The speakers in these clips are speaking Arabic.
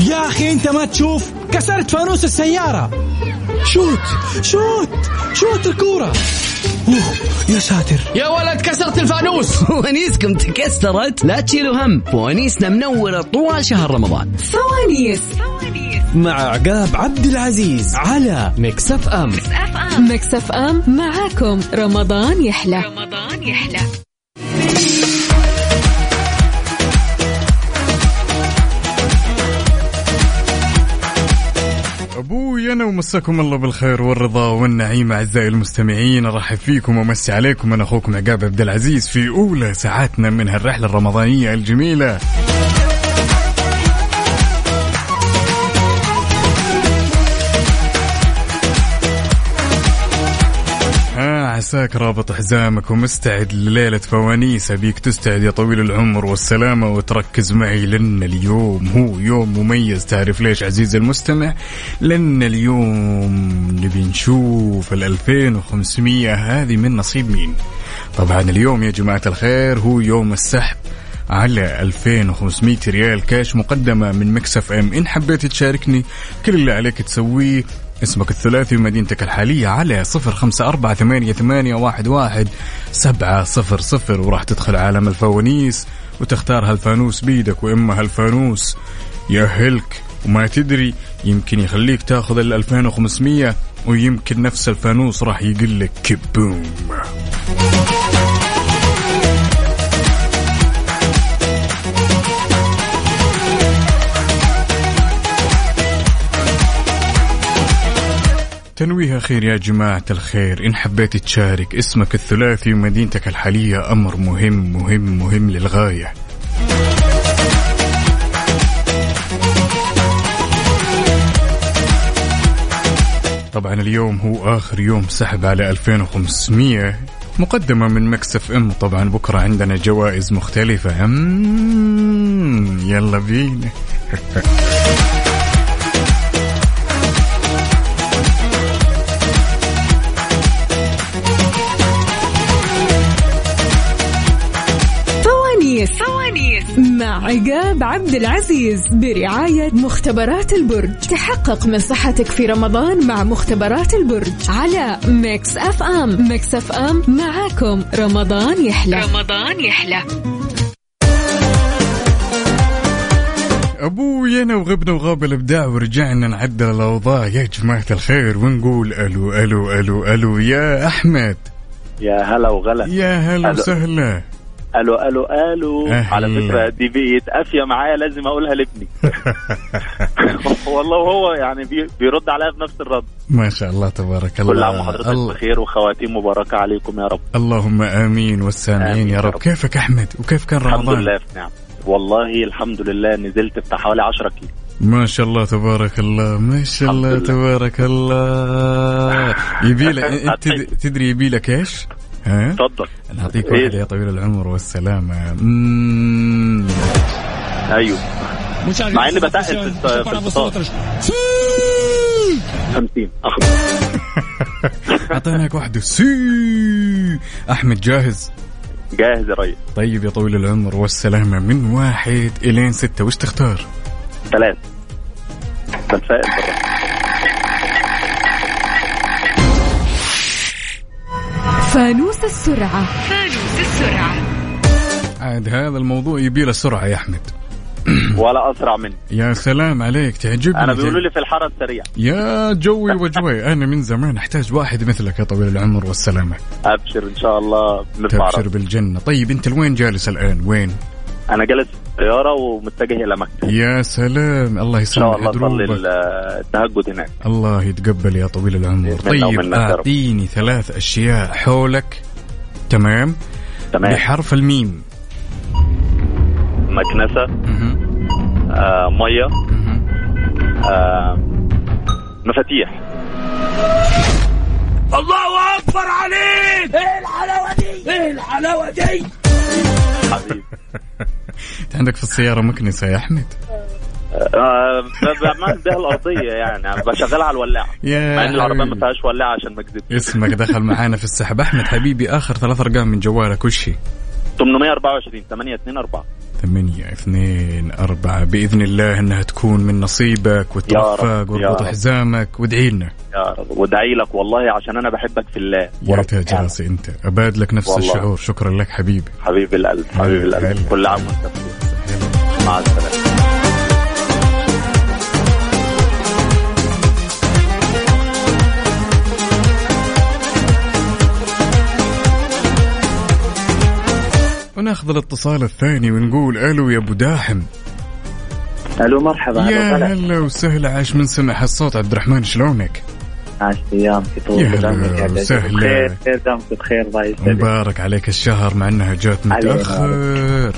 اللي انت ما تشوف كسرت فانوس السيارة شوت شوت شوت الكورة اوه يا ساتر يا ولد كسرت الفانوس فوانيسكم تكسرت لا تشيلوا هم فوانيسنا منورة طوال شهر رمضان فوانيس مع عقاب عبد العزيز على ميكس اف ام ميكس اف ام معاكم رمضان يحلى رمضان يحلى ابوي انا ومساكم الله بالخير والرضا والنعيم اعزائي المستمعين ارحب فيكم وامسي عليكم انا اخوكم عقاب عبد العزيز في اولى ساعاتنا من هالرحله الرمضانيه الجميله آه، عساك رابط حزامك ومستعد لليلة فوانيس أبيك تستعد يا طويل العمر والسلامة وتركز معي لأن اليوم هو يوم مميز تعرف ليش عزيزي المستمع لأن اليوم نبي نشوف ال 2500 هذه من نصيب مين طبعا اليوم يا جماعة الخير هو يوم السحب على 2500 ريال كاش مقدمة من مكسف ام إن حبيت تشاركني كل اللي عليك تسويه اسمك الثلاثي ومدينتك الحالية على صفر خمسة أربعة ثمانية, ثمانية واحد, واحد سبعة صفر صفر وراح تدخل عالم الفوانيس وتختار هالفانوس بيدك وإما هالفانوس يأهلك وما تدري يمكن يخليك تاخذ ال 2500 ويمكن نفس الفانوس راح يقلك كبوم تنويه أخير يا جماعة الخير إن حبيت تشارك اسمك الثلاثي ومدينتك الحالية أمر مهم مهم مهم للغاية طبعا اليوم هو آخر يوم سحب على 2500 مقدمة من مكسف ام طبعا بكرة عندنا جوائز مختلفة أمم، يلا بينا فوانيس مع عقاب عبد العزيز برعاية مختبرات البرج تحقق من صحتك في رمضان مع مختبرات البرج على ميكس اف ام ميكس اف ام معاكم رمضان يحلى رمضان يحلى ابوي انا وغبنا وغاب الابداع ورجعنا نعدل الاوضاع يا جماعه الخير ونقول الو الو الو الو يا احمد يا هلا وغلا يا هلا ألو. وسهلا الو الو الو أهلا. على فكره دي بقت قافيه معايا لازم اقولها لابني والله وهو يعني بي بيرد عليا بنفس الرد ما شاء الله تبارك الله كل عام وحضرتك بخير وخواتيم مباركه عليكم يا رب اللهم امين والسامعين آمين يا يا رب رب. كيفك احمد وكيف كان الحمد رمضان لله في نعم والله الحمد لله نزلت بتاع حوالي 10 كيلو ما شاء الله تبارك الله ما شاء الحمد الله لله. تبارك الله يبي لك انت تدري يبي لك ايش ها اتفضل نعطيك إيه؟ واحد يا طويل العمر والسلامه مم. ايوه مع إني بتقل في الس- في الفطار. 50 اخبار اعطيناك واحده سي احمد جاهز جاهز يا ريس طيب يا طويل العمر والسلامه من واحد الين سته وش تختار ثلاث متفائل بالرب. فانوس السرعة عاد هذا الموضوع يبي له سرعه يا احمد ولا اسرع مني يا سلام عليك تعجبني انا بيقولوا لي في الحاره السريع يا جوي وجوي انا من زمان احتاج واحد مثلك يا طويل العمر والسلامه ابشر ان شاء الله بنطلع تبشر بالجنه طيب انت لوين جالس الان وين انا جالس في الطياره ومتجه الى مكه يا سلام الله ان شاء يسلم الله اصلي ال- دروبك التهجد هناك الله يتقبل يا طويل العمر بإذن الله طيب ومنك يا رب. اعطيني ثلاث اشياء حولك تمام تمام بحرف الميم مكنسه مهم. آه، ميه مهم. آه، مفاتيح الله اكبر عليك ايه الحلاوه دي ايه الحلاوه دي حبيبي انت عندك في السياره مكنسه يا احمد آه، ب- بعمل بيها الارضيه يعني بشغلها على الولاعه مع يا ان العربيه ما حبيبي. فيهاش ولاعه عشان ما اكذبش اسمك دخل معانا في السحب احمد حبيبي اخر ثلاث ارقام من جوالك وش هي 824 824 ثمانية اثنين أربعة بإذن الله أنها تكون من نصيبك وترفق رب، يا واربط رب. حزامك وادعي لنا يا رب وادعي لك والله عشان انا بحبك في الله يعني يا تاج راسي أنت أباد لك نفس والله. الشعور شكرا لك حبيبي حبيب القلب حبيب هلا. القلب كل عام وانت بخير مع السلامه وناخذ الاتصال الثاني ونقول ألو يا أبو داحم الو مرحبا يا هلا هلا وسهلا عاش من سمع هالصوت عبد الرحمن شلونك عاش ايامك يا طول هلا عمرك يا جدع. وسهلا. بخير خير دامك بخير الله يسعدك مبارك عليك الشهر مع أنها جات علينا. متأخر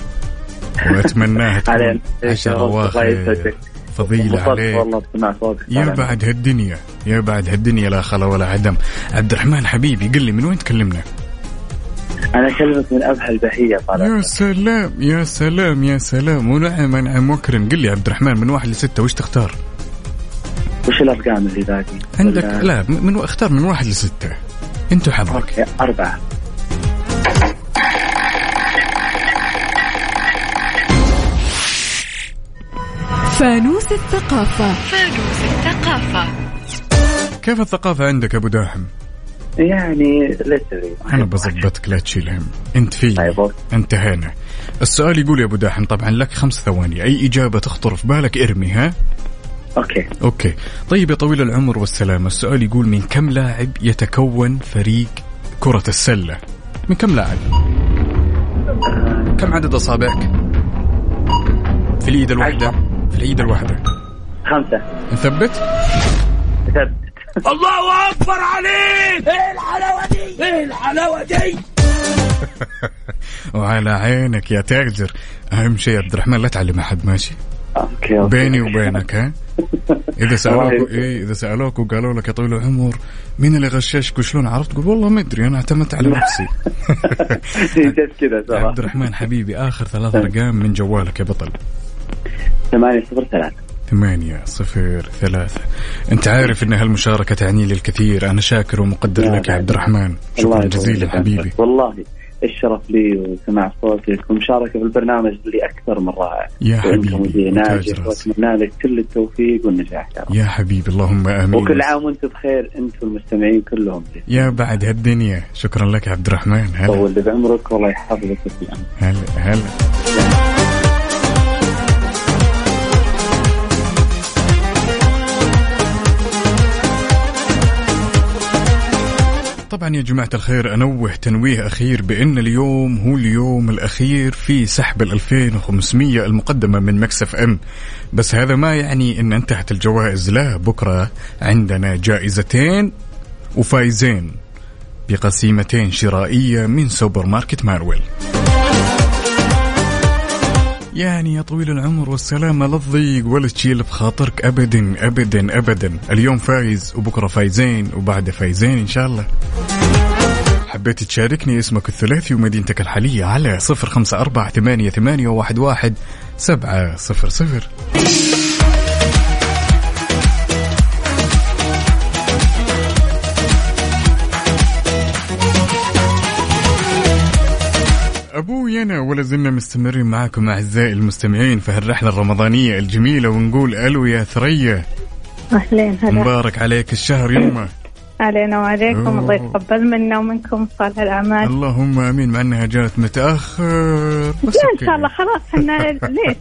وأتمناها تكون علينا. عشرة يا رب، الله أواخر يسعدك. فضيلة انبسطت عليك والله بسمع صوتك يا طبعاً. بعد هالدنيا يا بعد هالدنيا لا خلا ولا عدم عبد الرحمن حبيبي قل لي من وين تكلمنا انا اكلمك من ابها البهيه طبعا يا سلام يا سلام يا سلام ونعم انعم وكرم قل لي يا عبد الرحمن من واحد لستة وش تختار وش الارقام اللي باقي؟ عندك ولا- لا من من- اختار من واحد لستة انت وحظك اوكي اربعه فانوس الثقافة كيف الثقافة عندك ابو داحم يعني ليتري انا بظبطك لا تشيل هم انت في طيب. انتهينا السؤال يقول يا ابو داحم طبعا لك خمس ثواني اي اجابة تخطر في بالك ارمي ها اوكي اوكي طيب يا طويل العمر والسلامة السؤال يقول من كم لاعب يتكون فريق كرة السلة من كم لاعب كم عدد اصابعك في الايد الواحدة في الايد الواحدة خمسه نثبت ثبت وعلى عينك يا تاجر اهم شيء يا عبد الرحمن لا تعلم احد ماشي اوكي أوكي. بيني وبينك ها اذا سالوك الله يسلمك. إيه اذا سالوك وقالوا لك يا طويل العمر مين اللي غششك وشلون عرفت قول والله ما ادري انا اعتمدت على نفسي جد كذا عبد صراحه الرحمن حبيبي اخر ثلاث ارقام من جوالك يا بطل 8 0 3 ثمانية صفر ثلاثة أنت عارف أن هالمشاركة تعني لي الكثير أنا شاكر ومقدر يا لك يا عبد رب. الرحمن شكرا جزيلا حبيبي والله الشرف لي وسماع صوتك ومشاركة في البرنامج اللي أكثر من رائع يا وأنت حبيبي، مذيع وتاج ناجح راسي. وأتمنى لك كل التوفيق والنجاح يا رب يا حبيبي اللهم آمين وكل عام وأنت بخير أنت والمستمعين كلهم يا بعد هالدنيا شكرا لك يا عبد الرحمن هلا طول لي بعمرك والله يحفظك ويسلمك هلا هلا طبعا يا جماعة الخير أنوه تنويه أخير بأن اليوم هو اليوم الأخير في سحب ال 2500 المقدمة من مكسف أم بس هذا ما يعني أن انتهت الجوائز لا بكرة عندنا جائزتين وفايزين بقسيمتين شرائية من سوبر ماركت مارويل يعني يا طويل العمر والسلامة لا تضيق ولا تشيل في خاطرك أبدا أبدا أبدا اليوم فايز وبكرة فايزين وبعده فايزين إن شاء الله حبيت تشاركني اسمك الثلاثي ومدينتك الحالية على صفر خمسة أربعة ثمانية ثمانية واحد واحد سبعة صفر صفر ابوي انا ولا زلنا مستمرين معاكم اعزائي المستمعين في هالرحله الرمضانيه الجميله ونقول الو يا ثريا أهلين هلا مبارك عليك الشهر يمه علينا وعليكم أوه. الله يتقبل منا ومنكم صالح الأعمال اللهم امين مع انها جات متاخر بس لا إن أوكي. شاء الله خلاص احنا ليش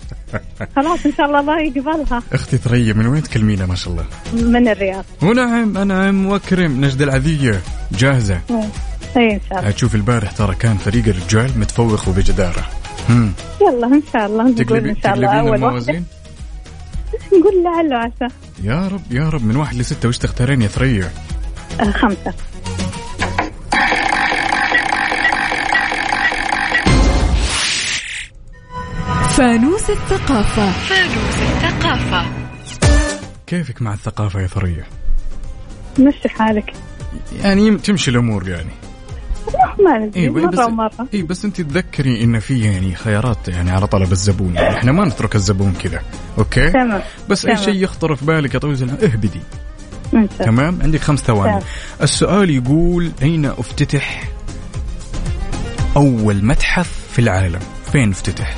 خلاص إن شاء الله الله يقبلها اختي ثريا من وين تكلمينا ما شاء الله نعم، من الرياض ونعم انعم واكرم نجد العذيه جاهزه إي إن شاء الله هتشوف البارح ترى كان فريق الرجال متفوق وبجداره هم. يلا إن شاء الله نقول تقلبي إن شاء الله تقلبين أول واحدة الموازين نقول لعل وعسى يا رب يا رب من واحد لستة وش تختارين يا ثريا آه، خمسة فانوس الثقافة كيفك مع الثقافه يا ثريا مشي حالك يعني يم- تمشي الامور يعني ما ندري إيه، مرة ومرة اي بس انت تذكري ان في يعني خيارات يعني على طلب الزبون يعني احنا ما نترك الزبون كذا اوكي تمام بس اي تمام. شيء يخطر في بالك يا طويل العمر إيه، اهبدي إن شاء الله. تمام عندك خمس ثواني أه. تمام. السؤال يقول اين افتتح اول متحف في العالم فين افتتح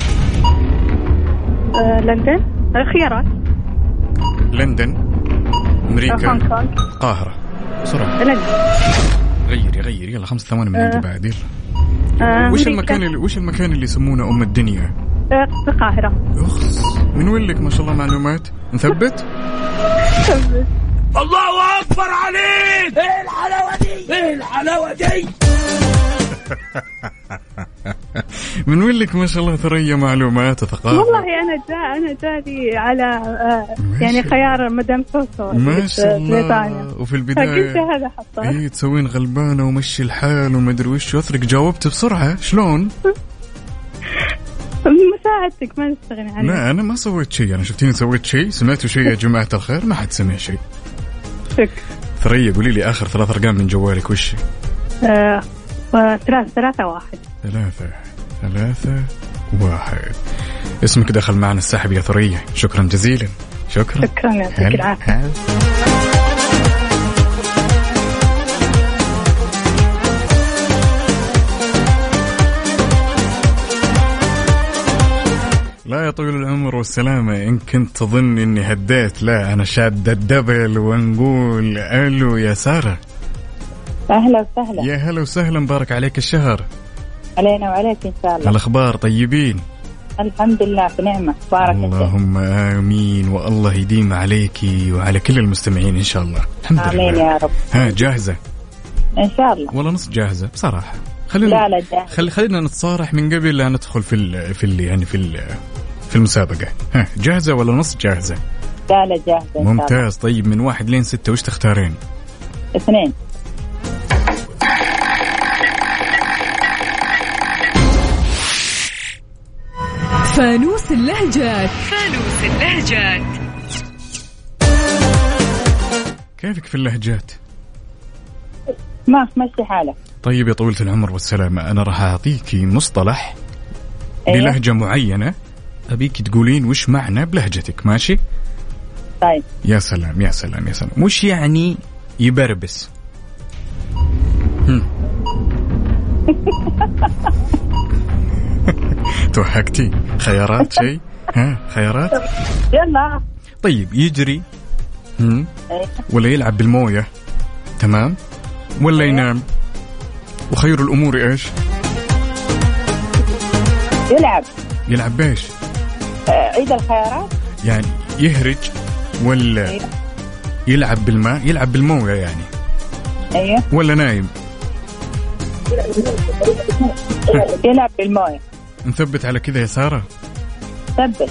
آه، لندن الخيارات آه، لندن امريكا هونغ كونغ القاهره بسرعه لندن غيري غيري يلا خمسة ثواني من عندي آه. بعد يلا آه، وش أمريكا. المكان اللي وش المكان اللي يسمونه ام الدنيا؟ آه، القاهرة اخس من وين لك ما شاء الله معلومات؟ نثبت؟ من وين لك ما شاء الله ثريا معلومات وثقافه والله أنا جاء أنا جالي على آه، ما يعني شاء- خيار مدام سوسو ما شاء بريطانيا الله وفي فقلت البدايه هذا حطه اي تسوين غلبانه ومشي الحال وما ادري وش يثرق جاوبت بسرعه شلون؟ مساعدتك ما نستغني عنها لا انا ما سويت شيء انا شفتيني سويت شيء سمعتوا شيء يا جماعه الخير ما حد سمع شيء شك ثريا قولي لي اخر ثلاث ارقام من جوالك وش؟ آه، آه، ثلاثة ثلاثة واحد ثلاثة ثلاثة واحد اسمك دخل معنا السحب يا ثريا شكرا جزيلا شكرا شكرا يعطيك هلا العافية هلا. لا يا طويل العمر والسلامة إن كنت تظن إني هديت لا أنا شاد الدبل ونقول ألو يا سارة اهلا وسهلا يا هلا وسهلا مبارك عليك الشهر علينا وعليك ان شاء الله الأخبار طيبين الحمد لله في نعمه بارك الله اللهم امين والله يديم عليك وعلى كل المستمعين ان شاء الله الحمد امين لله يا رب ها جاهزه ان شاء الله والله نص جاهزه بصراحه خلينا لا لا جاهز خل... خلينا نتصارح من قبل لا ندخل في ال... في ال... يعني في ال... في المسابقه ها جاهزه ولا نص جاهزه لا لا جاهز ان شاء الله ممتاز طيب من واحد لين ستة وش تختارين اثنين فانوس اللهجات كيفك في اللهجات ما مشي حالك طيب يا طويلة العمر والسلامة أنا راح أعطيكي مصطلح أيوة. بلهجة معينة أبيك تقولين وش معنى بلهجتك ماشي طيب يا سلام يا سلام يا سلام وش يعني يبربس هم. توهقتي خيارات شيء ها خيارات يلا طيب يجري هم. أيوة. ولا يلعب بالمويه تمام ولا ينام وخير الامور ايش يلعب يلعب بايش آه، عيد الخيارات يعني يهرج ولا أيوة. يلعب بالماء يلعب بالمويه يعني ايوه ولا نايم يلعب بالمويه نثبت على كذا يا ساره ثبت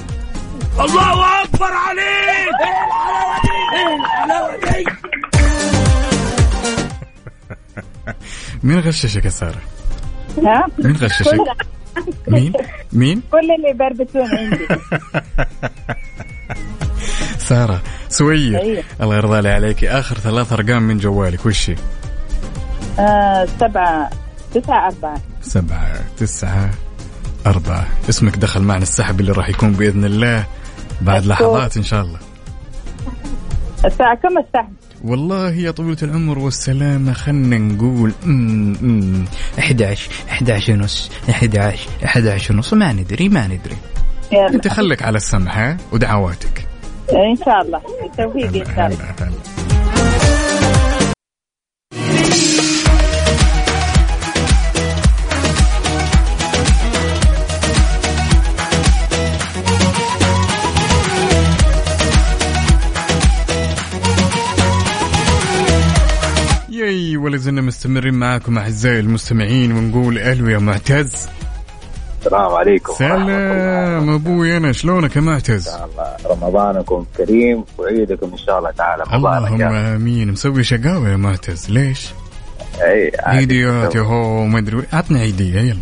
مين غششك يا ساره ها مين غششك مين مين كل اللي يبربتون عندي ساره سويه أيوة. الله يرضى لي عليك اخر ثلاث ارقام من جوالك وش هي؟ آه، سبعه تسعة أربعة سبعة تسعة أربعة اسمك دخل معنا السحب اللي راح يكون بإذن الله بعد أشكرك. لحظات إن شاء الله الساعة كم السهم؟ والله يا طويلة العمر والسلامة خلنا نقول أمم، أمم، 11 11 ونص 11 11 ونص ما ندري ما ندري يلا أنت خلك على السمع ها ودعواتك إن شاء الله بالتوفيق إن شاء الله هلا هلا ياي ولا زلنا مستمرين معاكم اعزائي المستمعين ونقول الو يا معتز السلام عليكم سلام ابوي انا شلونك يا معتز الله رمضانكم كريم وعيدكم ان شاء الله تعالى مبارك اللهم يا رب. امين مسوي شقاوه يا معتز ليش؟ اي إيه، عادي. عيديات يا هو ما ادري وين. عطنا عيديه يلا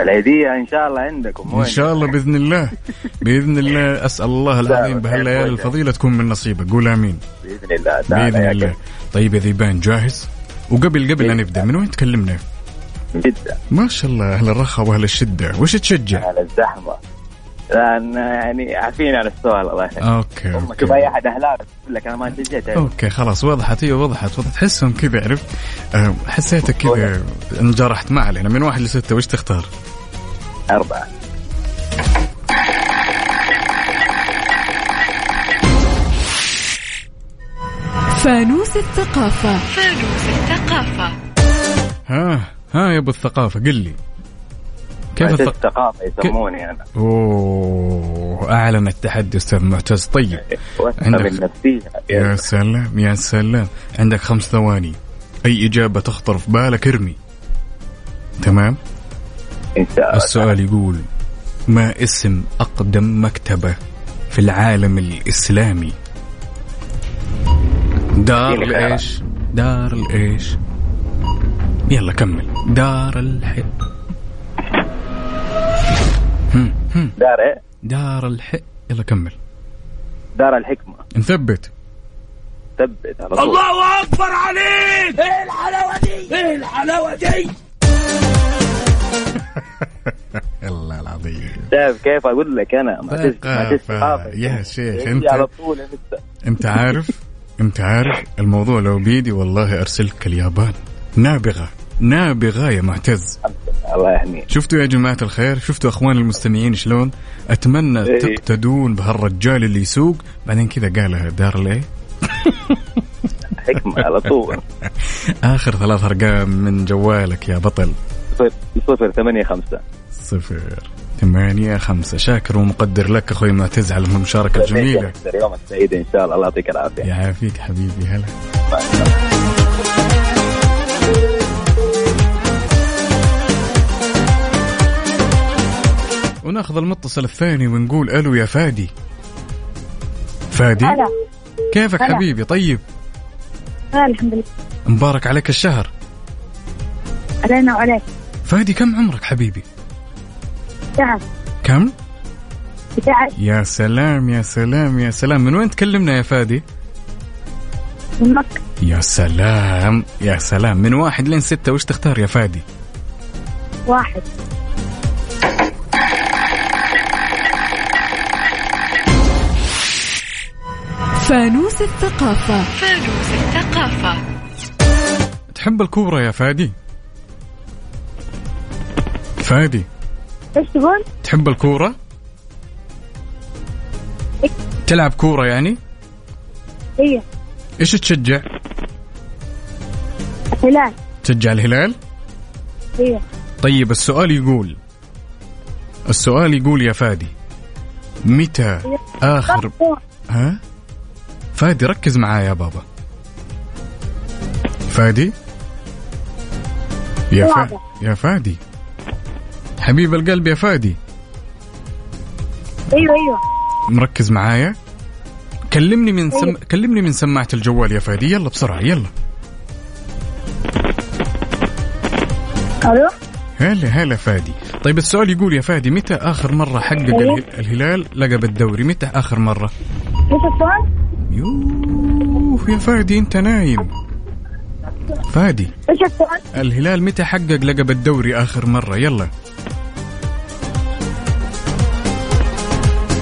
العيديه ان شاء الله عندكم ان شاء الله باذن الله باذن الله اسال الله العظيم بهالليالي الفضيله تكون من نصيبك قول امين باذن الله تعالى باذن يا الله كريم. طيب يا ذيبان جاهز وقبل قبل لا نبدا من وين تكلمنا؟ جدا آه، ما شاء الله اهل الرخاء واهل الشده وش تشجع؟ على الزحمه لان يعني عارفين على السؤال الله يخليك اوكي أما شوف اي اوكي احد اهلاك يقول لك انا ما شجعت يعني. اوكي خلاص وضحت هي وضحت وضحت تحسهم كذا عرفت آه، حسيتك كذا انجرحت ما علينا من واحد لسته وش تختار؟ اربعه فانوس الثقافة ها ها يا ابو الثقافه قل لي كيف معتز الثقافه الثقافة يسموني أنا اوه اعلن التحدي استاذ معتز طيب وأفهم عندك يا النفسية سلام يا سلام عندك خمس ثواني اي اجابه تخطر في بالك ارمي تمام إن شاء الله السؤال يقول ما اسم اقدم مكتبه في العالم الاسلامي دار اديني خيارات. الايش دار الايش يلا كمل دار الح دار إيه؟ دار الح يلا كمل دار الحكمة نثبت ثبت على طول الله الله العظيم شايف كيف أقول لك أنا معتز ثقافة. معتز ثقافة إيه، يا شيخ، يجي أنت- على طول أنت انت عارف انت عارف الموضوع لو بيدي والله ارسلك اليابان نابغه نابغه يا معتز الله يهنيك شفتوا يا جماعة الخير شفتوا أخوان المستمعين شلون أتمنى إيه. تقتدون بهالرجال اللي يسوق بعدين كذا قالها دار ليه حكمة على طول آخر ثلاث أرقام من جوالك يا بطل صفر صفر ثمانية خمسة صفر ثمانية خمسة شاكر ومقدر لك أخوي معتز على المشاركة الجميلة يوم السعيد إن شاء الله الله يعطيك العافية يعافيك حبيبي هلا وناخذ المتصل الثاني ونقول الو يا فادي فادي هلا كيفك هلا. حبيبي طيب آه، الحمد لله مبارك عليك الشهر علينا وعليك فادي كم عمرك حبيبي تعب كم تعب يا سلام يا سلام يا سلام من وين تكلمنا يا فادي من مكة يا سلام يا سلام من واحد لين ستة وش تختار يا فادي واحد فانوس الثقافة تحب الكورة يا فادي فادي ايش تقول؟ تحب الكورة تلعب كورة يعني هي ايش تشجع هلال تشجع الهلال هي طيب السؤال يقول السؤال يقول يا فادي متى آخر ها فادي ركز معايا يا بابا فادي يا فادي يا فادي حبيب القلب يا فادي ايوه ايوه مركز معايا كلمني من سم... كلمني من سماعة الجوال يا فادي يلا بسرعة يلا الو هلا هلا فادي طيب السؤال يقول يا فادي متى آخر مرة حقق اله... الهلال لقب الدوري متى آخر مرة ايش السؤال؟ يوه يا فادي انت نايم فادي ايش السؤال؟ الهلال متى حقق لقب الدوري آخر مرة يلا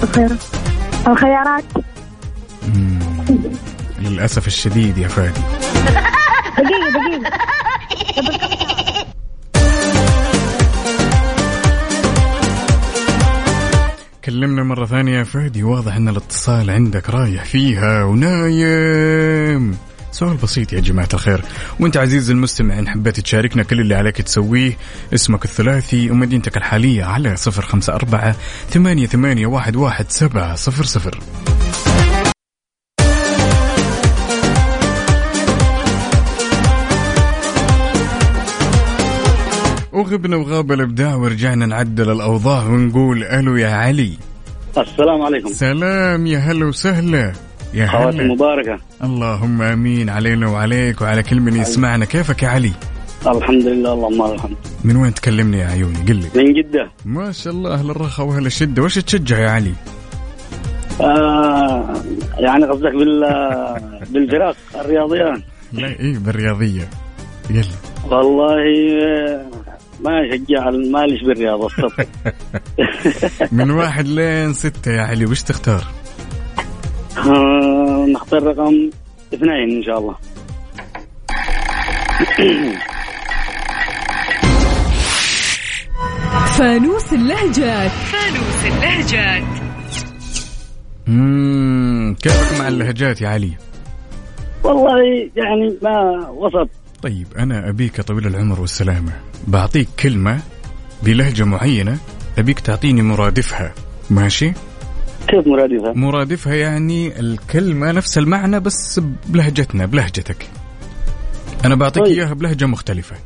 الخير الخيارات للأسف الشديد يا فادي دقيقة دقيقة كلمنا مرة ثانية يا فادي واضح ان الاتصال عندك رايح فيها ونايم سؤال بسيط يا جماعة الخير وانت عزيزي المستمع ان حبيت تشاركنا كل اللي عليك تسويه اسمك الثلاثي ومدينتك الحالية على صفر خمسة أربعة ثمانية ثمانية واحد واحد سبعة صفر صفر وغبنا وغاب الابداع ورجعنا نعدل الاوضاع ونقول الو يا علي السلام عليكم سلام يا هلا وسهلا يا خواتي هلا مباركة اللهم امين علينا وعليك وعلى كل من يسمعنا كيفك يا علي الحمد لله اللهم لك الحمد من وين تكلمني يا عيوني قل لي من جدة ما شاء الله اهل الرخاء واهل الشده وش تشجع يا علي آه يعني قصدك بال بالفرق الرياضية لا ايه بالرياضيه يلا والله آه، ما شجع ماليش بالرياضة الصدق من واحد لين ستة يا علي وش تختار آه، نختار رقم اثنين ان شاء الله فانوس اللهجات مم، كيفك مع اللهجات يا علي والله يعني ما وسط طيب انا ابيك يا طويل العمر والسلامه بعطيك كلمه بلهجه معينه ابيك تعطيني مرادفها ماشي كيف مرادفها مرادفها يعني الكلمه نفس المعنى بس بلهجتنا بلهجتك انا بعطيك طيب. اياها بلهجه مختلفه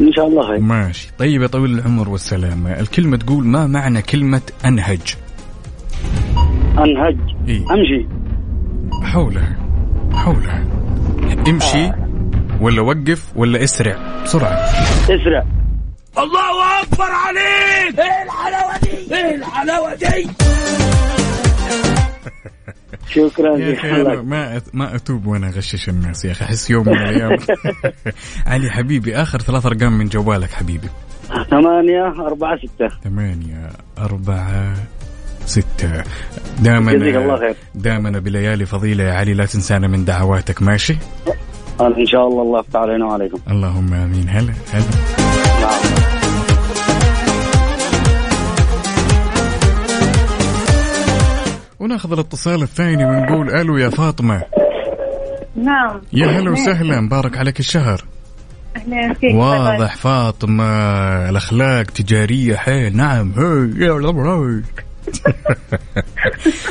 ان شاء الله هاي ماشي طيب يا طويل العمر والسلامه الكلمه تقول ما معنى كلمه انهج انهج إيه؟ امشي حولها حولها امشي ولا وقف ولا اسرع بسرعه اسرع الله اكبر عليك ايه الحلاوه دي ايه الحلاوه دي شكرا يا اخي انا لك ما أت- ما اتوب وانا اغشش الناس يا اخي احس يوم من الايام علي حبيبي اخر ثلاث ارقام من جوالك حبيبي ثمانية أربعة ستة ثمانية أربعة ستة دائما جزاك الله خير. دائما بليالي فضيلة يا علي لا تنسانا من دعواتك ماشي إن شاء الله الله يفتح علينا وعليكم اللهم امين هلا هلا وناخذ الاتصال الثاني ونقول الو يا فاطمه نعم يا هلا وسهلا مبارك عليك الشهر أهلين فيك واضح فاطمه الاخلاق تجاريه حيل نعم هي يا مبروك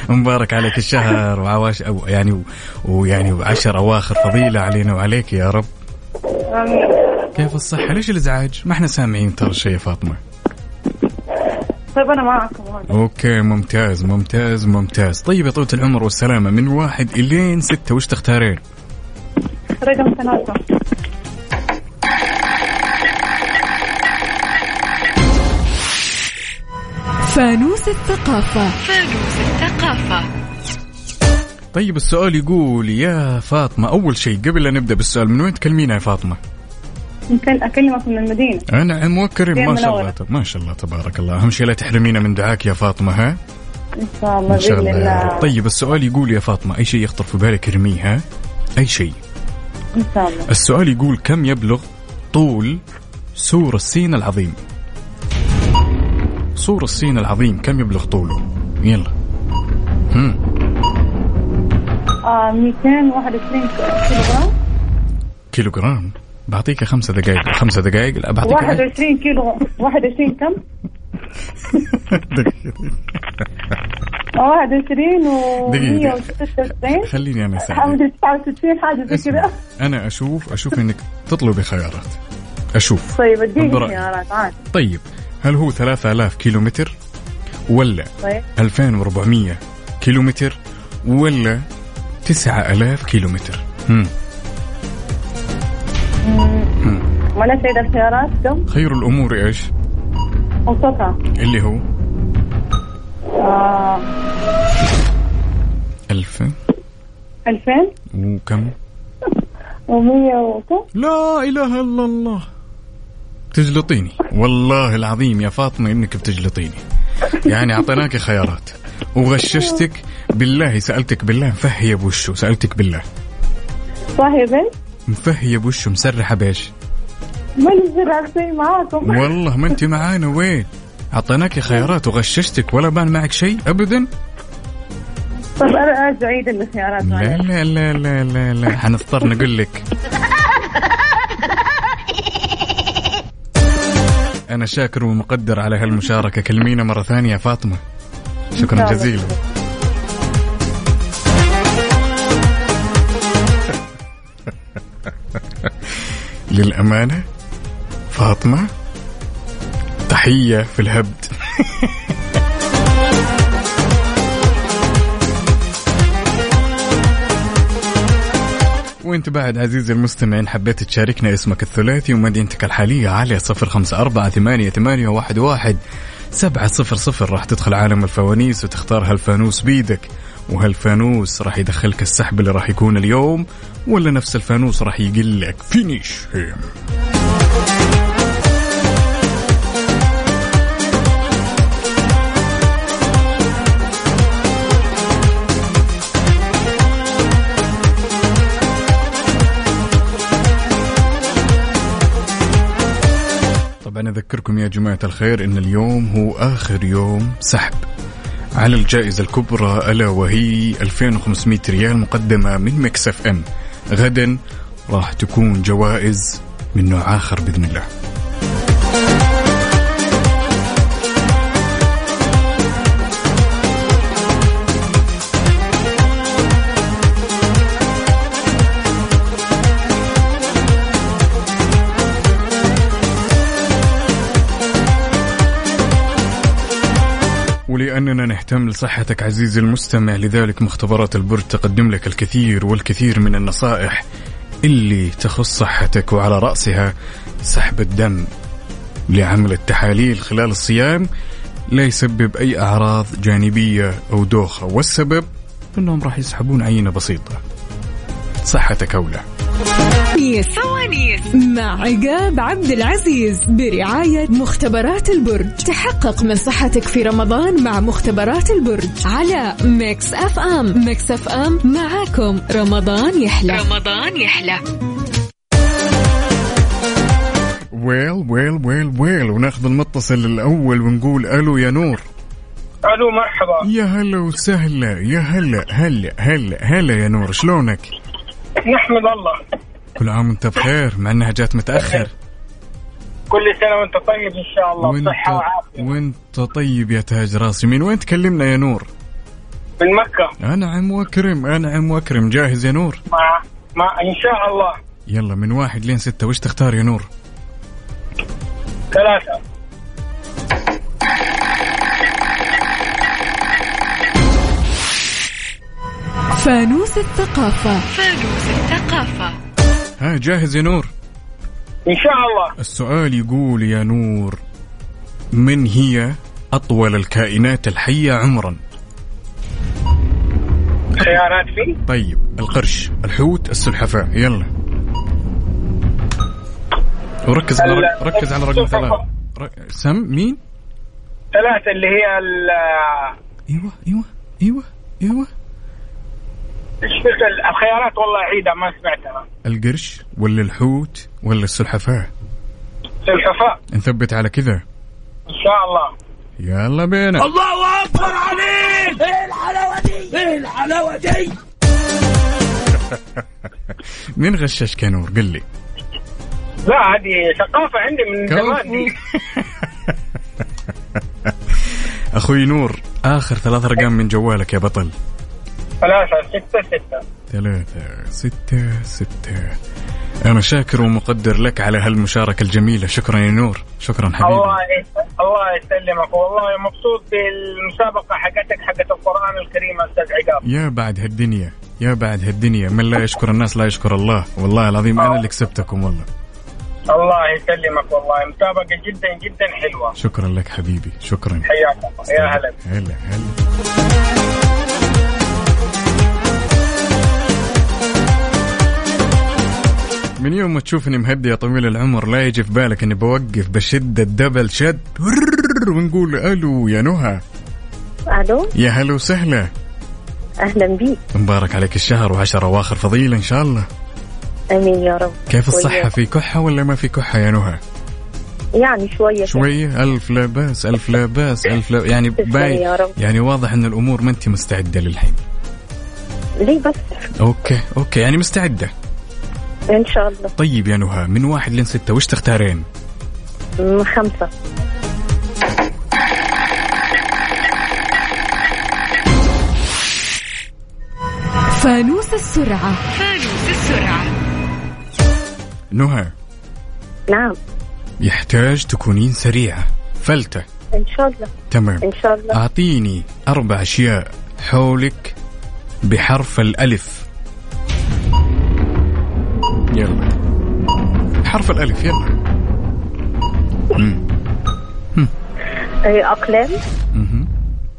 مبارك عليك الشهر وعواش أو يعني و- ويعني وعشر اواخر فضيله علينا وعليك يا رب آمين. كيف الصحه ليش الازعاج ما احنا سامعين ترى شيء يا فاطمه طيب أنا معكم هون اوكي ممتاز ممتاز ممتاز طيب يا طولة العمر والسلامة من واحد الين ستة وش تختارين؟ رقم ثلاثة فانوس الثقافة طيب السؤال يقول يا فاطمة أول شيء قبل لا نبدأ بالسؤال من وين تكلمينا يا فاطمة؟ ممكن أكلمك من المدينة أنا وكريم ما دايماً شاء الله أولاً. تب- ما شاء الله تبارك الله أهم شيء لا تحرمينا من دعاك يا فاطمة ها؟ إن شاء الله إن شاء بإذن الله يا رب. الله طيب السؤال يقول يا فاطمة أي شيء يخطر في بالك ارميه ها؟ أي شيء إن شاء الله السؤال يقول كم يبلغ طول سور الصين العظيم؟ سور الصين العظيم كم يبلغ طوله؟ يلا هم. آه 221 كيلو جرام كيلو جرام بعطيك خمسة دقائق خمسة دقائق لا بعطيك 21 كيلو 21 كم؟ دقيقة. 21 و دقيقة. 196 خليني انا اساعدك حاجة 69 حاجة زي اسمع، كذا انا اشوف اشوف انك تطلبي خيارات اشوف طيب اديني برأيك. خيارات عادي طيب هل هو 3000 كيلومتر ولا طيب 2400 كيلومتر ولا 9000 كيلومتر هم. ولا سيدة الخيارات كم؟ خير الامور ايش أوسطها اللي هو آه 1000 2000 وكم و100 وكم؟ لا اله الا الله تجلطيني والله العظيم يا فاطمه انك بتجلطيني يعني اعطيناك خيارات وغششتك بالله سالتك بالله مفهيه بوشه سالتك بالله صح يا بنت؟ مفهيه بوشه مسرحه بايش ماني زرع شيء معاكم والله ما انت معانا وين اعطيناك خيارات وغششتك ولا بان معك شيء ابدا طب طيب، أنا أرجع عيد الخيارات لا معلش لا لا لا لا, لا. حنضطر نقول لك انا شاكر ومقدر على هالمشاركه كلمينا مره ثانيه يا فاطمه شكرا جزيلا للامانه فاطمه تحيه في الهبد وانت بعد عزيزي المستمعين حبيت تشاركنا اسمك الثلاثي ومدينتك الحالية على صفر خمسة أربعة ثمانية, ثمانية واحد, واحد سبعة صفر صفر راح تدخل عالم الفوانيس وتختار هالفانوس بيدك وهالفانوس راح يدخلك السحب اللي راح يكون اليوم ولا نفس الفانوس راح يقول لك فينيش هيم طبعا اذكركم يا جماعه الخير ان اليوم هو اخر يوم سحب على الجائزة الكبرى ألا وهي 2500 ريال مقدمة من مكسف أم غدا راح تكون جوائز من نوع آخر بإذن الله ولأننا نهتم لصحتك عزيزي المستمع لذلك مختبرات البرج تقدم لك الكثير والكثير من النصائح اللي تخص صحتك وعلى رأسها سحب الدم لعمل التحاليل خلال الصيام لا يسبب أي أعراض جانبية أو دوخة والسبب أنهم راح يسحبون عينة بسيطة صحتك أولى فوانيس فوانيس مع عقاب عبد العزيز برعاية مختبرات البرج تحقق من صحتك في رمضان مع مختبرات البرج على ميكس اف ام ميكس اف ام معاكم رمضان يحلى رمضان يحلى ويل ويل ويل ويل وناخذ المتصل الأول ونقول ألو يا نور الو مرحبا يا هلا وسهلا يا هلا هلا هلا هلا يا نور شلونك؟ نحمد الله كل عام وانت بخير مع انها جات متاخر كل سنه وانت طيب ان شاء الله وانت بصحه وعافيه وانت طيب يا تاج راسي من وين تكلمنا يا نور؟ من مكه انعم واكرم انعم واكرم جاهز يا نور؟ مع مع ان شاء الله يلا من واحد لين ستة وش تختار يا نور؟ ثلاثه فانوس الثقافة فانوس الثقافة ها جاهز يا نور؟ ان شاء الله السؤال يقول يا نور من هي أطول الكائنات الحية عمرا؟ خيارات في طيب القرش الحوت السلحفاة يلا وركز على ال- رق- ركز على رقم ثلاثة ر- سم مين؟ ثلاثه اللي هي ال ايوه ايوه ايوه ايوه ايش قلت ال- الخيارات والله عيدة ما سمعتها القرش ولا الحوت ولا السلحفاة؟ سلحفاة نثبت على كذا ان شاء الله يلا بينا الله اكبر عليك ايه الحلاوه دي ايه الحلاوه دي مين غششك يا نور قل لي لا هذه ثقافة عندي من زمان دي اخوي نور اخر ثلاث ارقام من جوالك يا بطل ثلاثة ستة ستة ثلاثة ستة ستة أنا شاكر ومقدر لك على هالمشاركة الجميلة شكرا يا نور شكرا حبيبي الله يس- الله يسلمك والله مبسوط بالمسابقة حقتك حقت القرآن الكريم يا أستاذ عقاب يا بعد هالدنيا يا بعد هالدنيا من لا يشكر الناس لا يشكر الله والله العظيم أنا اللي كسبتكم والله الله يسلمك والله مسابقة جدا جدا حلوة شكرا لك حبيبي شكرا حياك الله يا هلا هلا هلا من يوم ما تشوفني مهدي يا طويل العمر لا يجي في بالك اني بوقف بشد الدبل شد ونقول الو يا نهى الو يا هلا وسهلا اهلا بيك مبارك عليك الشهر وعشرة واخر فضيلة ان شاء الله امين يا رب كيف الصحة وياك. في كحة ولا ما في كحة يا نهى يعني شويه شوية ألف لا باس ألف لا باس ألف لا يعني تسلم باين يا رب. يعني واضح ان الامور ما انت مستعدة للحين ليه بس اوكي اوكي يعني مستعدة ان شاء الله طيب يا نهى من واحد لين ستة وش تختارين؟ م- خمسه فانوس السرعة فانوس السرعة نهى نعم يحتاج تكونين سريعة فلتة ان شاء الله تمام ان شاء الله أعطيني أربع أشياء حولك بحرف الألف يلا حرف الألف يلا مم. إيه، اقلام مهم.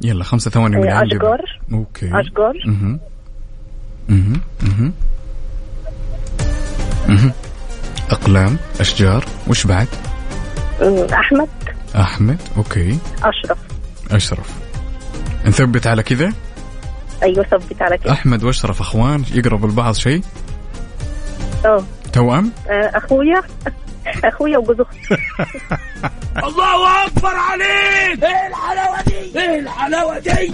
يلا خمسة ثواني من إيه، عندي. أشجار. أوكي أشجار. مهم. مهم. مهم. مهم. أقلام أشجار وش بعد م- احمد أحمد أوكي اشرف أشرف نثبت على كذا أيوة، ايوه ثبت على كده أحمد وأشرف أخوان يقربوا لبعض شيء اه توأم آه، اخويا اخويا وجوز اختي الله اكبر عليك ايه الحلاوه دي ايه الحلاوه دي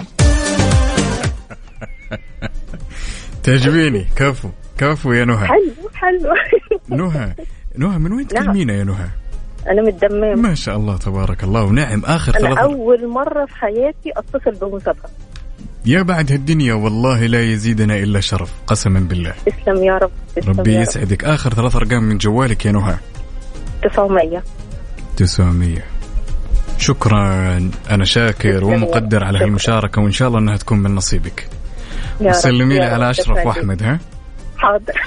تعجبيني كفو كفو يا نهى حلو حلو نهى نهى من وين نعم. تكلمينا يا نهى؟ انا متدمره ما شاء الله تبارك الله ونعم اخر ثلاث انا اول مره في حياتي اتصل بمسابقه يا بعد هالدنيا والله لا يزيدنا الا شرف قسما بالله تسلم يا رب تسلم ربي يا يسعدك اخر ثلاث ارقام من جوالك يا نهى رب 900 900 شكرا انا شاكر ومقدر على هالمشاركه وان شاء الله انها تكون من نصيبك يا رب، سلمي لي يا رب، على اشرف تسعدك. واحمد ها حاضر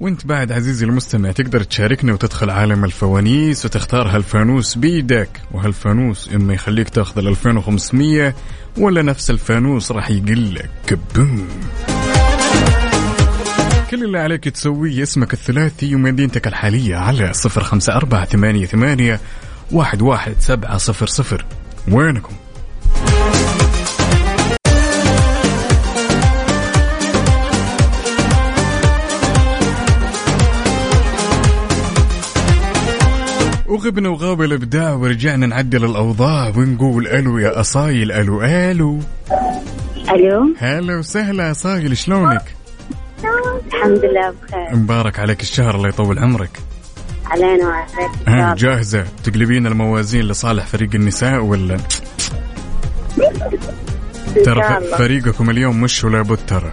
وانت بعد عزيزي المستمع تقدر تشاركنا وتدخل عالم الفوانيس وتختار هالفانوس بيدك وهالفانوس اما يخليك تاخذ ال 2500 ولا نفس الفانوس راح يقل لك كبوم كل اللي عليك تسويه اسمك الثلاثي ومدينتك الحالية على 05488 11700 وينكم؟ وغبنا وغاب الابداع ورجعنا نعدل الاوضاع ونقول الو يا اصايل الو الو الو هلا وسهلا يا صايل شلونك؟ الحمد لله بخير مبارك عليك الشهر الله يطول عمرك علينا وعليك يا ها رب. جاهزة تقلبين الموازين لصالح فريق النساء ولا إن ترى شاء ف- الله. فريقكم اليوم مش ولا بد ترى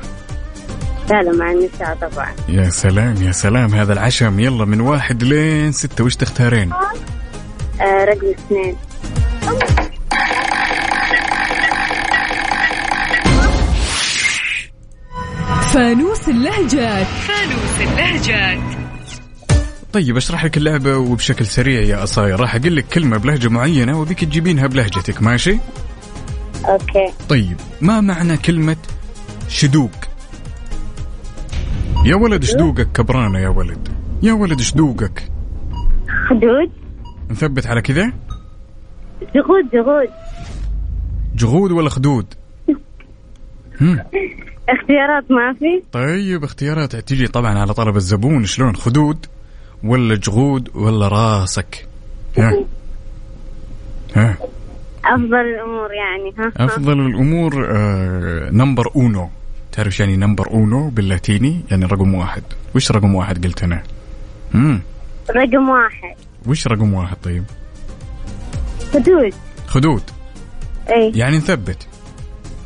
لا لا مع النساء طبعا يا سلام يا سلام هذا العشم يلا من واحد لين ستة وش تختارين آه رقم اثنين فانوس اللهجات فانوس اللهجات طيب اشرح لك اللعبة وبشكل سريع يا أصاير راح أقول لك كلمة بلهجة معينة وبيك تجيبينها بلهجتك ماشي اوكي طيب ما معنى كلمة شدوق يا ولد شدوقك كبرانة يا ولد يا ولد شدوقك خدود نثبت على كذا زغود زغود جغود ولا خدود هم. اختيارات ما في طيب اختيارات تجي طبعا على طلب الزبون شلون خدود ولا جغود ولا راسك ها ها افضل الامور يعني ها ها. افضل الامور آه، نمبر اونو تعرف شو يعني نمبر اونو باللاتيني يعني رقم واحد وش رقم واحد قلت انا امم رقم واحد وش رقم واحد طيب خدود خدود اي يعني نثبت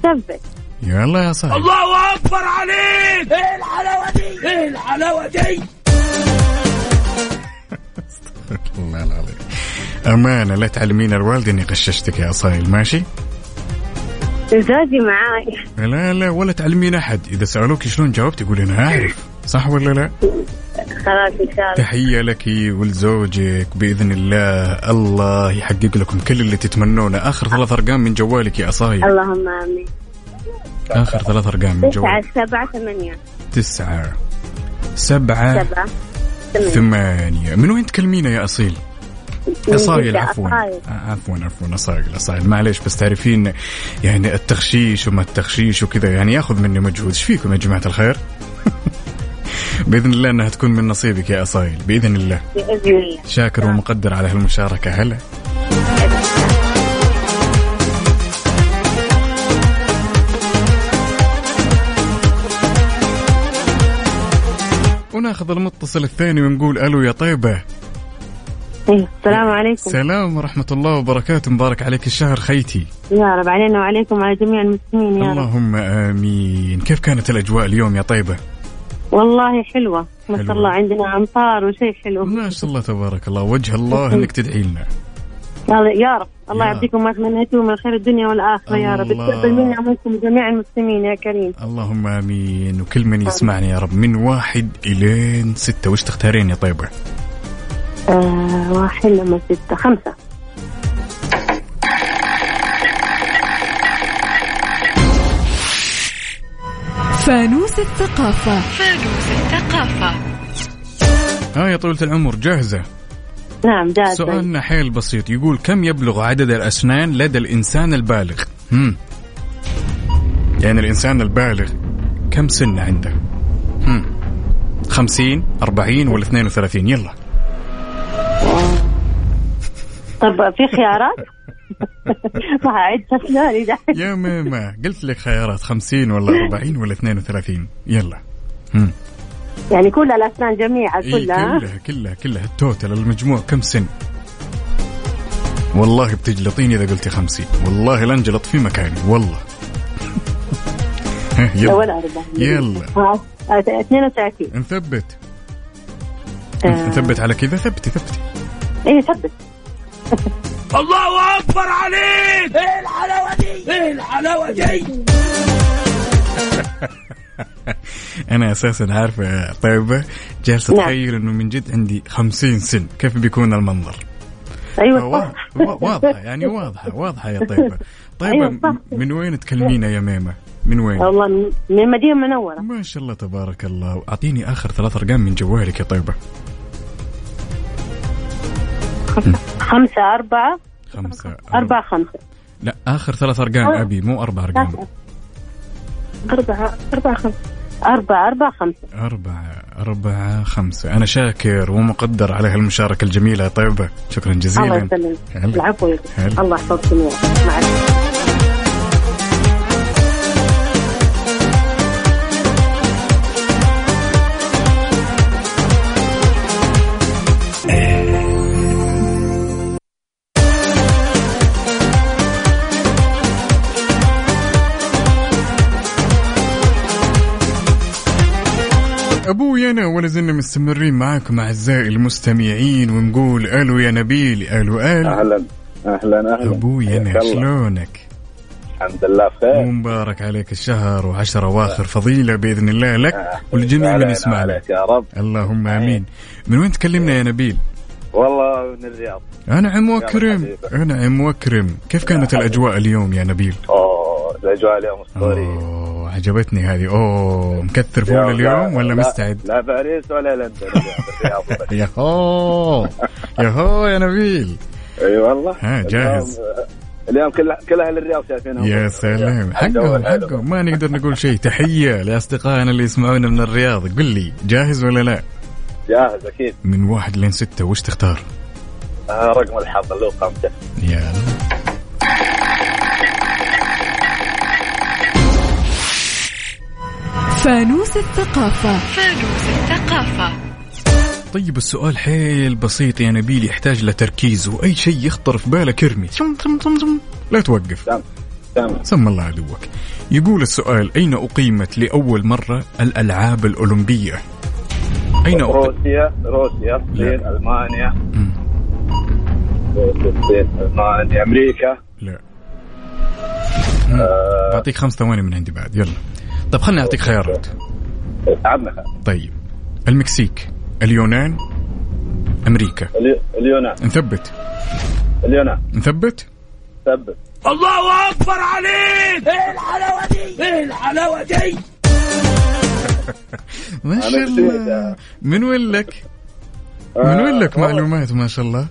إيه، ثبت يلا يا صاحبي الله اكبر عليك ايه الحلاوه دي ايه الحلاوه دي الله العظيم امانه لا تعلمين الوالد اني غششتك يا صايل ماشي زوجي معاي لا لا ولا تعلمين احد اذا سالوك شلون جاوبت قولين اعرف صح ولا لا خلاص ان شاء الله تحية لك ولزوجك بإذن الله الله يحقق لكم كل اللي تتمنونه آخر ثلاث أرقام من جوالك يا أصايل اللهم امين آخر ثلاث أرقام من تسعة جوالك سبعة ثمانية تسعة سبعة سبعة ثمانية ثمانية من وين تكلمينا يا أصيل؟ من أصايل جدة، عفوا أصايل. عفوا عفوا أصايل أصايل معليش بس تعرفين يعني التخشيش وما التخشيش وكذا يعني ياخذ مني مجهود إيش فيكم يا جماعة الخير؟ بإذن الله أنها تكون من نصيبك يا أصايل بإذن الله بإذن الله آه. شاكر ومقدر على هالمشاركة هلا وناخذ المتصل الثاني ونقول الو يا طيبه إيه، السلام عليكم إيه. سلام ورحمه الله وبركاته مبارك عليك الشهر خيتي يا رب علينا وعليكم وعلى جميع المسلمين يا رب اللهم امين كيف كانت الاجواء اليوم يا طيبه والله حلوة ما شاء حلوة. الله عندنا أمطار وشيء حلو ما شاء الله تبارك الله وجه الله انك تدعي لنا يلا- يا رب الله يا يعطيكم ما تمنيتم من خير الدنيا والآخرة يا رب الله. تقبل منا ومنكم جميع المسلمين يا كريم اللهم امين وكل من يسمعني يا رب من واحد الين سته وش تختارين يا طيبه آه واحد لما ستة خمسة فانوس الثقافة فانوس الثقافة ها يا طويله العمر جاهزه نعم جاهز سؤالنا حيل بسيط يقول كم يبلغ عدد الأسنان لدى الإنسان البالغ هم. يعني الإنسان البالغ كم سنة عنده هم. 50 40 ولا 32 يلا طب في خيارات؟ ما هعيد اسناني دحين يا ماما قلت لك خيارات 50 ولا 40 ولا 32 يلا مم. يعني كل الاسنان جميعها إيه، كلها كلها كلها كلها التوتال المجموع كم سن والله بتجلطيني إذا قلتي 50 والله لا انجلط في مكاني والله ها، ها؟ ولا يلا أربعة يلا ها، 32 نثبت آه. نثبت على كذا ثبتي ثبتي ايه ثبت الله اكبر عليك ايه الحلاوه دي ايه الحلاوه دي انا اساسا عارفه يا طيبه جالسه نعم. اتخيل انه من جد عندي 50 سن كيف بيكون المنظر ايوه وا- صح وا- واضحه يعني واضحه واضحه يا طيبه طيبه أيوة م- صح. من وين تكلمينا يا ميمه من وين والله من- من المدينه المنوره ما شاء الله تبارك الله اعطيني اخر ثلاث ارقام من جوالك يا طيبه خمسة أربعة خمسه أربعة خمسة لا اخر ثلاث ارقام آه. ابي مو اربع ارقام أربعة أربعة خمسة أربعة أربعة خمسة أربعة أربعة خمسة أنا شاكر ومقدر على هالمشاركة الجميلة يا طيبة شكرا الله جزيلا يسلمك هلا. العفو يا أخي. هلا. الله يحفظك جميعا مع السلامة. أبوي أنا ولا زلنا مستمرين معاكم أعزائي المستمعين ونقول ألو يا نبيل ألو ألو اهلا اهلا اهلا أبوي أنا حياك الله. شلونك الحمد لله بخير مبارك عليك الشهر وعشرة واخر فضيلة بإذن الله لك والجميع من آه. علينا يسمع عليك لك يا رب اللهم آه. آمين من وين تكلمنا يا نبيل والله من الرياض أنعم يلا وأكرم حبيبي. أنعم وأكرم كيف كانت الأجواء اليوم يا نبيل اوه الاجواء اليوم اسطوريه أوه عجبتني هذه أوه مكثر فول يا اليوم لا- ولا لا- مستعد لا باريس ولا لندن الرياض بس. يهو يهو يا نبيل اي والله ها، جاهز. اليوم- اليوم كل كل اهل الرياض شايفينهم يا سلام الجو حقهم الحلو. حقهم ما نقدر نقول شيء تحية لأصدقائنا اللي يسمعونا من الرياض قل لي جاهز ولا لا جاهز اكيد من واحد لين ستة وش تختار آه، رقم الحظ اللي هو خمسه يلا فانوس الثقافة طيب السؤال حيل بسيط يا نبيل يحتاج لتركيز وأي شيء يخطر في بالك ارمي تم- تم- تم- تم. لا توقف تمام سم الله عدوك يقول السؤال أين أقيمت لأول مرة الألعاب الأولمبية أين أقيمت روسيا روسيا الصين المانيا روسيا الصين المانيا امريكا لا آه. بعطيك خمس ثواني من عندي بعد يلا طب خلني اعطيك خيارات عمها طيب المكسيك اليونان امريكا الي- اليونان نثبت اليونان نثبت ثبت الله اكبر عليك ايه الحلاوه دي ايه الحلاوه دي ما شاء أنا الله من وين لك؟ من آه، وين لك والله- معلومات ما شاء الله؟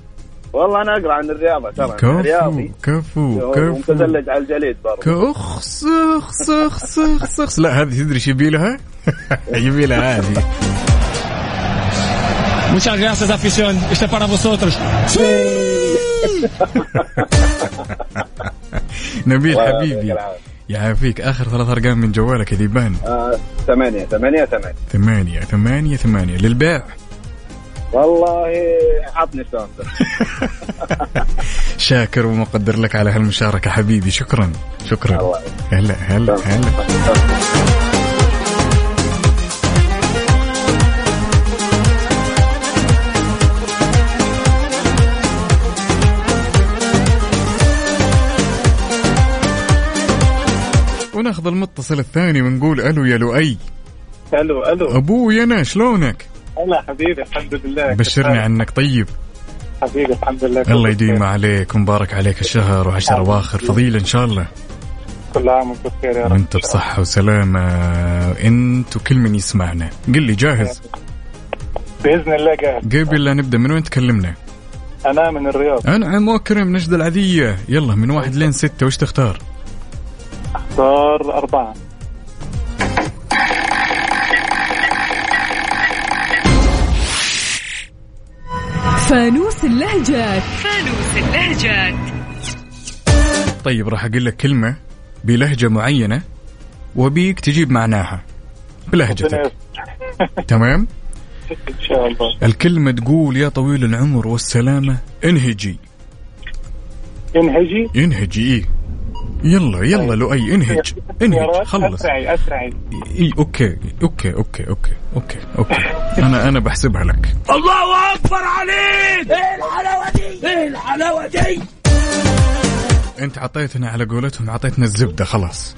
والله انا اقرا عن الرياضه ترى يعني أنا كفو رياضي كفو كفو ومتزلج على الجليد برضه كأخس أخس أخس أخس أخس لا هذه تدري شو يبي لها؟ يبي لها هذه Muchas gracias, afición. Este es para vosotros. نبيل الله يعطيك حبيبي العافية. يعافيك آخر ثلاث أرقام من جوالك يا ذيبان آه، ثمانية ثمانية ثمانية ثمانية ثمانية ثمانية للبيع والله عطني سوندا شاكر ومقدر لك على هالمشاركة حبيبي شكرا شكرا الله هلا هلا هلا وناخذ المتصل الثاني ونقول الو يا لؤي الو الو ابوي انا شلونك هلا حبيبي الحمد لله بشرني عنك طيب حبيبي الحمد لله الله يديم عليك ومبارك عليك الشهر وعشر اواخر فضيله ان شاء الله كل عام وانت بخير يا رب وانت بصحه وسلامه انت وكل من يسمعنا قل لي جاهز باذن الله جاهز قبل لا نبدا من وين تكلمنا انا من الرياض انعم واكرم نجد العذيه يلا من واحد لين ستة وش تختار اختار اربعه فانوس اللهجات فانوس اللهجات طيب راح اقول لك كلمه بلهجه معينه وبيك تجيب معناها بلهجتك تمام ان شاء الله الكلمه تقول يا طويل العمر والسلامه انهجي ينهجي ينهجي ايه يلا يلا لؤي انهج انهج سيارات، خلص اسرعي اسرعي إيه اوكي اوكي اوكي اوكي اوكي اوكي انا انا بحسبها لك الله اكبر عليك ايه الحلاوه دي ايه الحلاوه دي انت عطيتنا على قولتهم عطيتنا الزبده خلاص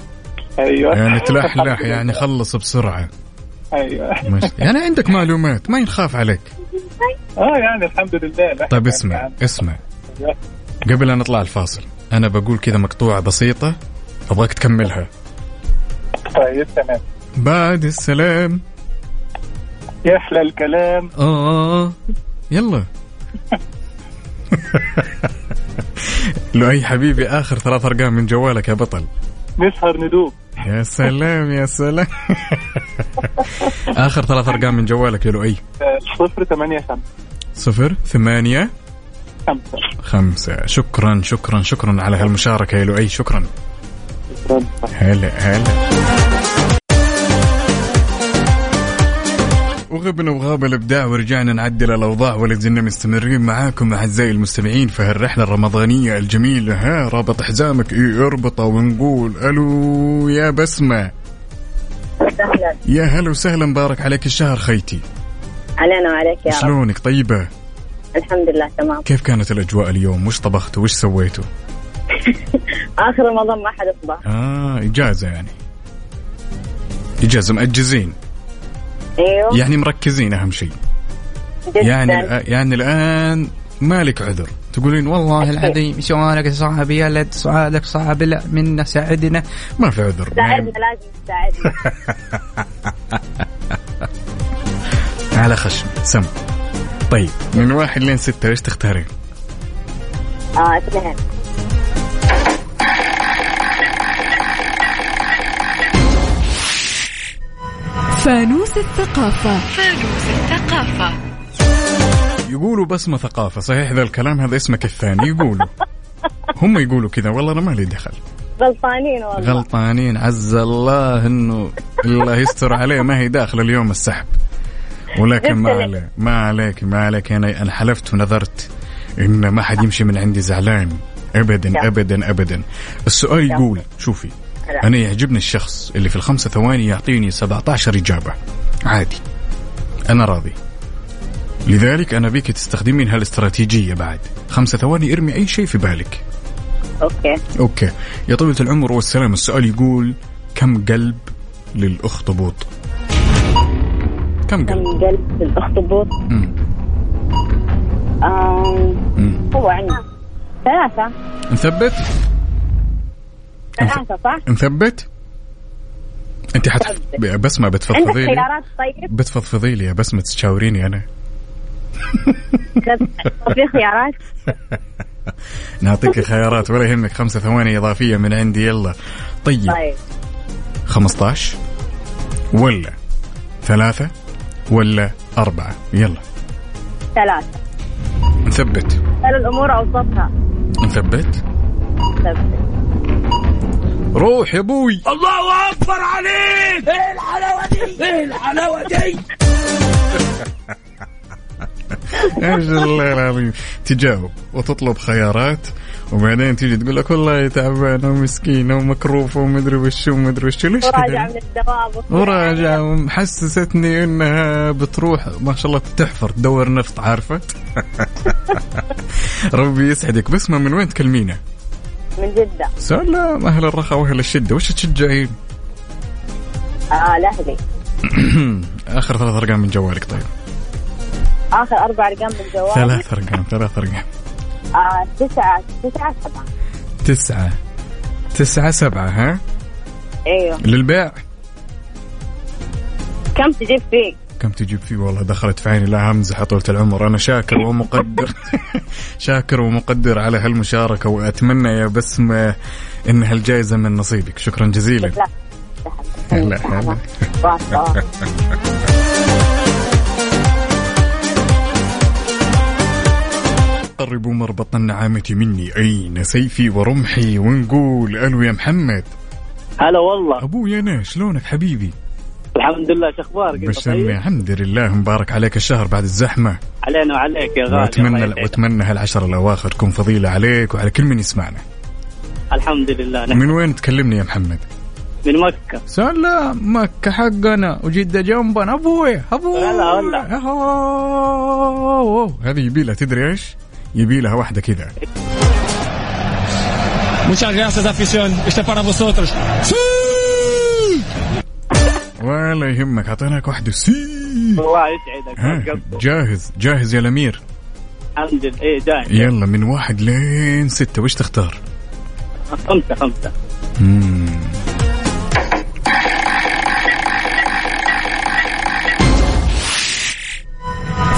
أيوة. ايوه يعني تلاح لاح يعني خلص بسرعه أيوة. ايوه ماشي. يعني عندك معلومات ما ينخاف عليك اه يعني الحمد لله لا طيب اسمع اسمع يا. قبل ان نطلع الفاصل انا بقول كذا مقطوعه بسيطه ابغاك تكملها طيب تمام بعد السلام يحلى الكلام اه يلا لؤي حبيبي اخر ثلاث ارقام من جوالك يا بطل نسهر ندوب يا سلام يا سلام اخر ثلاث ارقام من جوالك يا لؤي آه، صفر ثمانية خمسة صفر ثمانية خمسة خمسة شكرا شكرا شكرا على هالمشاركة يا لؤي شكرا هلا هلا وغبنا وغاب الابداع ورجعنا نعدل الاوضاع ولا زلنا مستمرين معاكم اعزائي المستمعين في هالرحله الرمضانيه الجميله ها رابط حزامك إيه اربطه ونقول الو يا بسمه يا هلا وسهلا مبارك عليك الشهر خيتي علينا وعليك يا رب شلونك طيبه الحمد لله تمام كيف كانت الاجواء اليوم وش طبختوا وش سويتوا اخر رمضان ما حد اصبح اه اجازه يعني اجازه مأجزين ايوه يعني مركزين اهم شيء جدا يعني الآ- يعني الان مالك عذر تقولين والله العظيم سؤالك صعب يا ولد سؤالك صعب لا منا ساعدنا ما في عذر ساعدنا لازم تساعدنا على خشم سم طيب من واحد لين ستة ايش تختارين؟ اه اثنين فانوس الثقافة فانوس الثقافة يقولوا بسمة ثقافة صحيح ذا الكلام هذا اسمك الثاني يقولوا هم يقولوا كذا والله أنا ما لي دخل غلطانين والله غلطانين عز الله انه الله يستر عليه ما هي داخله اليوم السحب ولكن ما يستر. عليه ما عليك ما عليك انا انا حلفت ونذرت ان ما حد يمشي من عندي زعلان ابدا ابدا ابدا السؤال يقول شوفي انا يعجبني الشخص اللي في الخمسة ثواني يعطيني 17 اجابه عادي انا راضي لذلك انا بيك تستخدمين هالاستراتيجيه بعد خمسة ثواني ارمي اي شيء في بالك اوكي اوكي يا طويلة العمر والسلام السؤال يقول كم قلب للاخطبوط؟ كم قلب؟ كم قلب الاخطبوط مم. آم، مم. هو عندي ثلاثة نثبت؟ ثلاثة صح؟ نثبت؟ انت حت بسمة عندك بتفضفضي لي خيارات طيب؟ بتفضفضي لي يا بسمة تشاوريني انا في خيارات؟ نعطيك خيارات ولا يهمك خمسة ثواني اضافية من عندي يلا طيب طيب 15 ولا ثلاثة ولا أربعة يلا ثلاثة نثبت سهل الأمور أوسطها نثبت طيب. روح يا ابوي الله اكبر عليك ايه الحلاوه دي ايه الحلاوه دي ايش الله العظيم تجاوب وتطلب خيارات وبعدين تيجي تقول لك والله تعبان ومسكين ومكروف ومدري وش ومدري وش ليش كذا؟ وراجع من الدوام وراجع ومحسستني انها بتروح ما شاء الله تحفر تدور نفط عارفه ربي يسعدك بس ما من وين تكلمينا من جدة سلام اهل الرخاء واهل الشده وش تشجعين آه لهلي اخر ثلاث ارقام من جوالك طيب آخر أربع أرقام من جوالي ثلاث ارقام ثلاث ارقام آه تسعة تسعة سبعة تسعة تسعة سبعة ها أيوه للبيع كم تجيب فيك؟ كم تجيب فيه والله دخلت في عيني لا همزة طولة العمر أنا شاكر ومقدر شاكر ومقدر على هالمشاركة وأتمنى يا بسمة إن هالجائزة من نصيبك شكرا جزيلا لا هلا هلا واضحة. قربوا مربط النعامة مني أين سيفي ورمحي ونقول ألو يا محمد هلا والله أبوي أنا شلونك حبيبي الحمد لله شو اخبارك؟ أنت بسم طيب؟ الحمد لله مبارك عليك الشهر بعد الزحمة علينا وعليك يا غالي الله وأتمنى يسعدك. وأتمنى هالعشر الأواخر تكون فضيلة عليك وعلى كل من يسمعنا الحمد لله نحن من وين تكلمني يا محمد؟ من مكة سلام مكة حقنا وجدة جنبنا أبوي أبوي هلا هلا أوه، هذه يبيلها تدري ايش؟ يبيلها واحدة كذا Muchas gracias, afición. Este para vosotros. ولا يهمك اعطيناك واحدة سي الله يسعدك ها، قصدك. جاهز جاهز يا الأمير الحمد لله ايه داعي يلا من واحد لين ستة وش تختار؟ خمسة خمسة مم.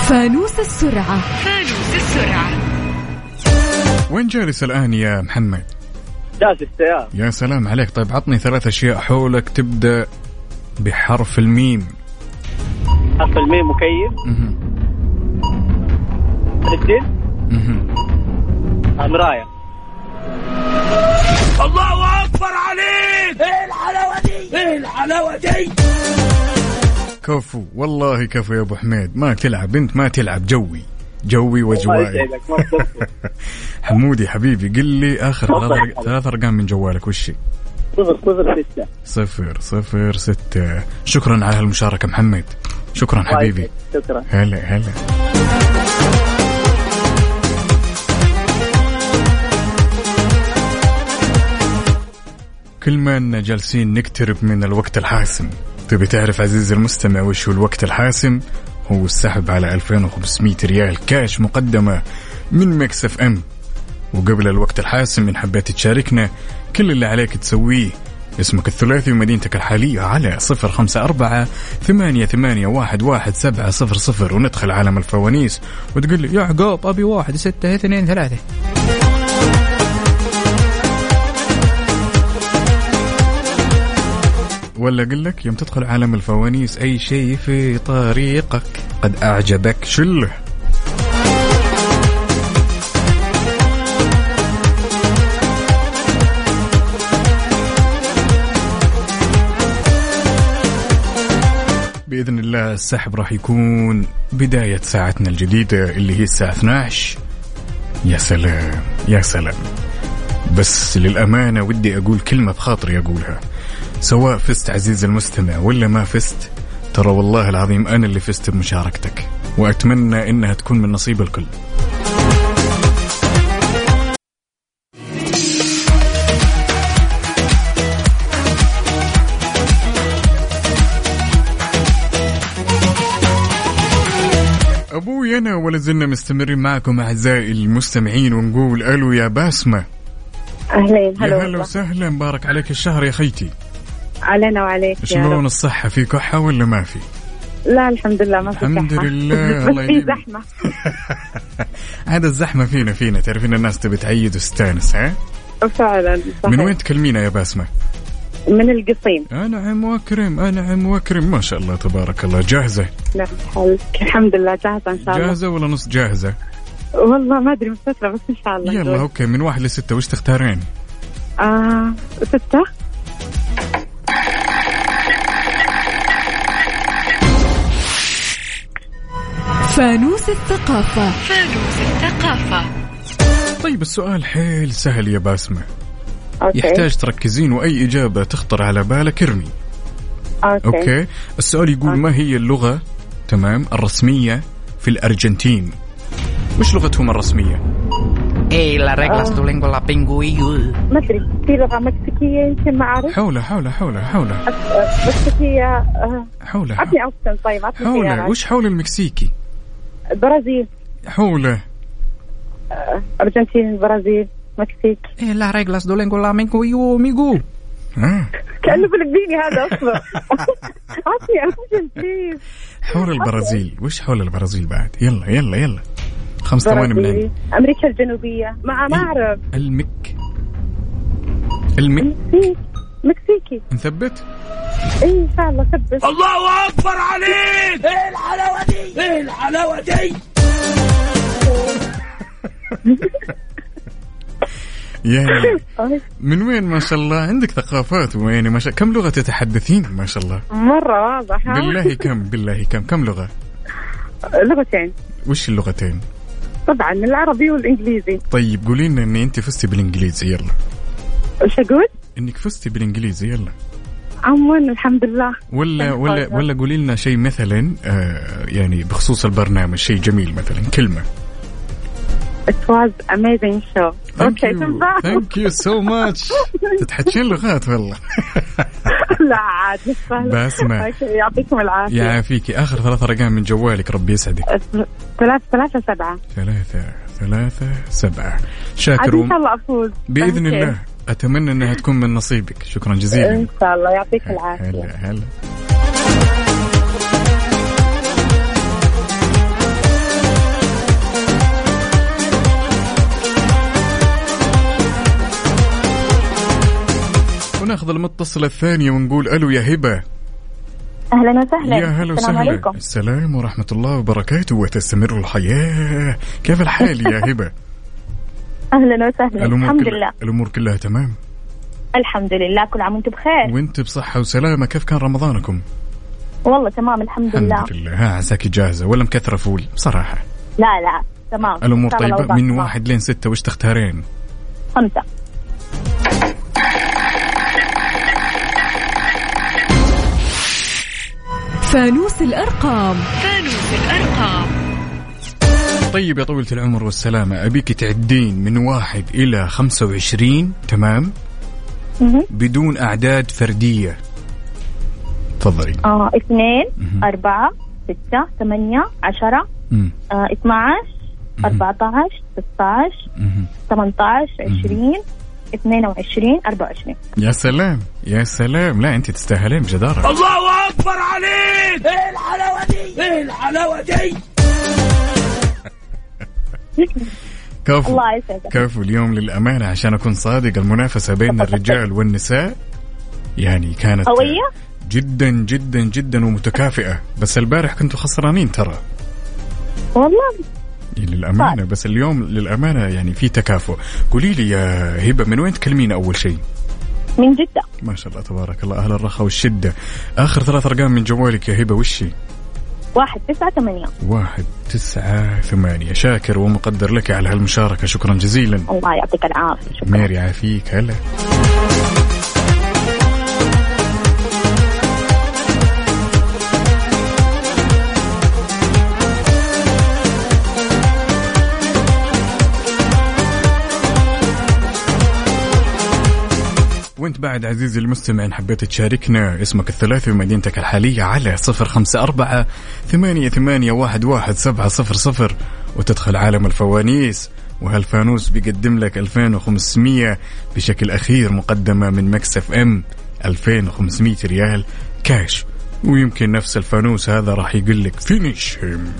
فانوس السرعة فانوس السرعة وين جالس الآن يا محمد؟ جالس السيارة يا سلام عليك طيب عطني ثلاث أشياء حولك تبدأ بحرف الميم حرف الميم مكيف مهم. رجل مهم. مراية الله اكبر عليك ايه الحلاوه دي ايه الحلاوه دي كفو والله كفو يا ابو حميد ما تلعب انت ما تلعب جوي جوي وجوائي يسعدك، ما تقصر. حمودي حبيبي قل لي اخر تفضل يا ثلاث حبيبي. ثلاث ارقام من جوالك وش هي؟ صفر صفر ستة صفر صفر ستة شكرا على هالمشاركة محمد شكرا الله حبيبي يسعدك، شكرا هلا هلا كل ما اننا جالسين نقترب من الوقت الحاسم تبي تعرف عزيزي المستمع وش هو الوقت الحاسم هو السحب على 2500 ريال كاش مقدمة من مكس اف ام وقبل الوقت الحاسم إن حبيت تشاركنا كل اللي عليك تسويه اسمك الثلاثي ومدينتك الحالية على صفر خمسة أربعة ثمانية ثمانية واحد واحد سبعة صفر صفر وندخل عالم الفوانيس وتقول لي يا عقاب أبي واحد ستة اثنين ثلاثة ولا اقول لك يوم تدخل عالم الفوانيس اي شيء في طريقك قد اعجبك شله باذن الله السحب راح يكون بدايه ساعتنا الجديده اللي هي الساعه 12 يا سلام يا سلام بس للامانه ودي اقول كلمه بخاطري اقولها سواء فزت عزيزي المستمع ولا ما فزت ترى والله العظيم انا اللي فزت بمشاركتك واتمنى انها تكون من نصيب الكل ابوي انا ولا زلنا مستمرين معكم اعزائي المستمعين ونقول الو يا باسمه أهلين هلا يا هلا والله وسهلا مبارك عليك الشهر يا خيتي علينا وعليك يا شلون رب الصحه في كحه ولا ما في لا الحمد لله ما في الحمد صحة. لله، الله بس في يديم. زحمة عاد الزحمه فينا فينا تعرفين الناس تبي تعيد وستانس ها فعلا صحيح. من وين تكلمينا يا باسمه من القصيم انعم واكرم انعم واكرم ما شاء الله تبارك الله جاهزه نعم حالك الحمد لله جاهزة إن شاء الله جاهزه ولا نص جاهزه والله ما أدري مستترة بس إن شاء الله يلا اوكي من واحد لستة وش تختارين آه ستة فانوس الثقافة فانوس الثقافة طيب السؤال حيل سهل يا باسمة أوكي يحتاج تركزين وأي إجابة تخطر على بالك ارمي أوكي, أوكي السؤال يقول ما هي اللغة تمام الرسمية في الأرجنتين وش لغتهم الرسمية Ey, las reglas, Ah. tu lengua, la pingüí. ما أدري في لغة مكسيكية يمكن ما أعرف حولها حولها حولها حولها أه، مكسيكية آه، حولها عطني أوبشن طيب عطني حولها خيارات وش حول المكسيكي برازيل حوله آه، أرجنتين برازيل مكسيك Ey, las reglas, tu lengua, la pingüí, amigo. آه. كأنه فلبيني هذا أصلا عطني أوبشن بليز حول البرازيل وش حول البرازيل بعد يلا يلا يلا خمس ثواني من برازيل عندي أمريكا الجنوبية ما ما أعرف المك المك مكسيك مكسيكي نثبت إيه إن شاء الله ثبت الله اكبر عليك ايه الحلاوه دي ايه الحلاوه دي يعني طيب. من وين ما شاء الله عندك ثقافات ويعني ما شاء كم لغة تتحدثين ما شاء الله مرة واضح ها؟ بالله كم بالله كم كم لغة لغتين وش اللغتين طبعا العربي والانجليزي طيب قولي لنا ان انت فزتي بالانجليزي يلا وش اقول؟ انك فزتي بالانجليزي يلا عموما الحمد لله ولا ولا ولا قولي لنا شيء مثلا آه يعني بخصوص البرنامج شيء جميل مثلا كلمه It was amazing show. اوكي تنفع؟ ثانك يو سو ماتش تتحكين لغات والله لا عاد بس سهلة. بسمة. أوكي، يعطيكم العافية يعافيكي اخر ثلاث ارقام من جوالك ربي يسعدك ثلاثة ثلاثة سبعة ثلاثة ثلاثة سبعة عاد شاكر ان وم... شاء الله افوز باذن أوكي. الله اتمنى انها تكون من نصيبك شكرا جزيلا ان شاء الله يعطيك العافية هلا هلا وناخذ المتصلة الثانية ونقول الو يا هبة اهلا وسهلا يا هلا السلام وسهلا عليكم السلام ورحمة الله وبركاته وتستمر الحياة كيف الحال يا هبة؟ اهلا وسهلا الحمد كل- لله الأمور كلها تمام الحمد لله كل عام وانتم بخير وانت بصحة وسلامة كيف كان رمضانكم؟ والله تمام الحمد لله الحمد لله ها عساكي جاهزة ولا مكثرة فول بصراحة لا لا تمام الأمور إن شاء الله طيبة الأوضاع من تمام. واحد لين ستة وش تختارين؟ خمسة فانوس الأرقام فانوس الأرقام طيب يا طويلة العمر والسلامة أبيك تعدين من واحد إلى خمسة وعشرين تمام؟ بدون أعداد فردية تفضلي آه اثنين أربعة ستة ثمانية عشرة مم. آه اثنا عشر أربعة عشر ستة عشر ثمانية عشر عشرين اثنين وعشرين أربعة وعشرين يا سلام يا سلام لا أنت تستاهلين بجدارة الله اكبر عليك ايه الحلاوه دي ايه الحلاوه دي كفو الله يسعدك. كفو اليوم للأمانة عشان أكون صادق المنافسة بين الرجال والنساء يعني كانت قوية جدا جدا جدا ومتكافئة بس البارح كنتوا خسرانين ترى والله إيه، للأمانة طيب. بس اليوم للأمانة يعني في تكافؤ قولي لي يا هبة من وين تكلمين أول شيء من جدة ما شاء الله تبارك الله أهل الرخاء والشدة آخر ثلاث أرقام من جوالك يا هبة وشي واحد تسعة ثمانية واحد تسعة ثمانية شاكر ومقدر لك على هالمشاركة شكرا جزيلا الله يعطيك العافية شكرا ميري يعافيك هلا وانت بعد عزيزي المستمع ان حبيت تشاركنا اسمك الثلاثي ومدينتك الحالية على صفر خمسة أربعة ثمانية, ثمانية واحد, واحد سبعة صفر صفر وتدخل عالم الفوانيس وهالفانوس بيقدم لك 2500 بشكل أخير مقدمة من مكسف ام 2500 ريال كاش ويمكن نفس الفانوس هذا راح يقول لك فينيش هيم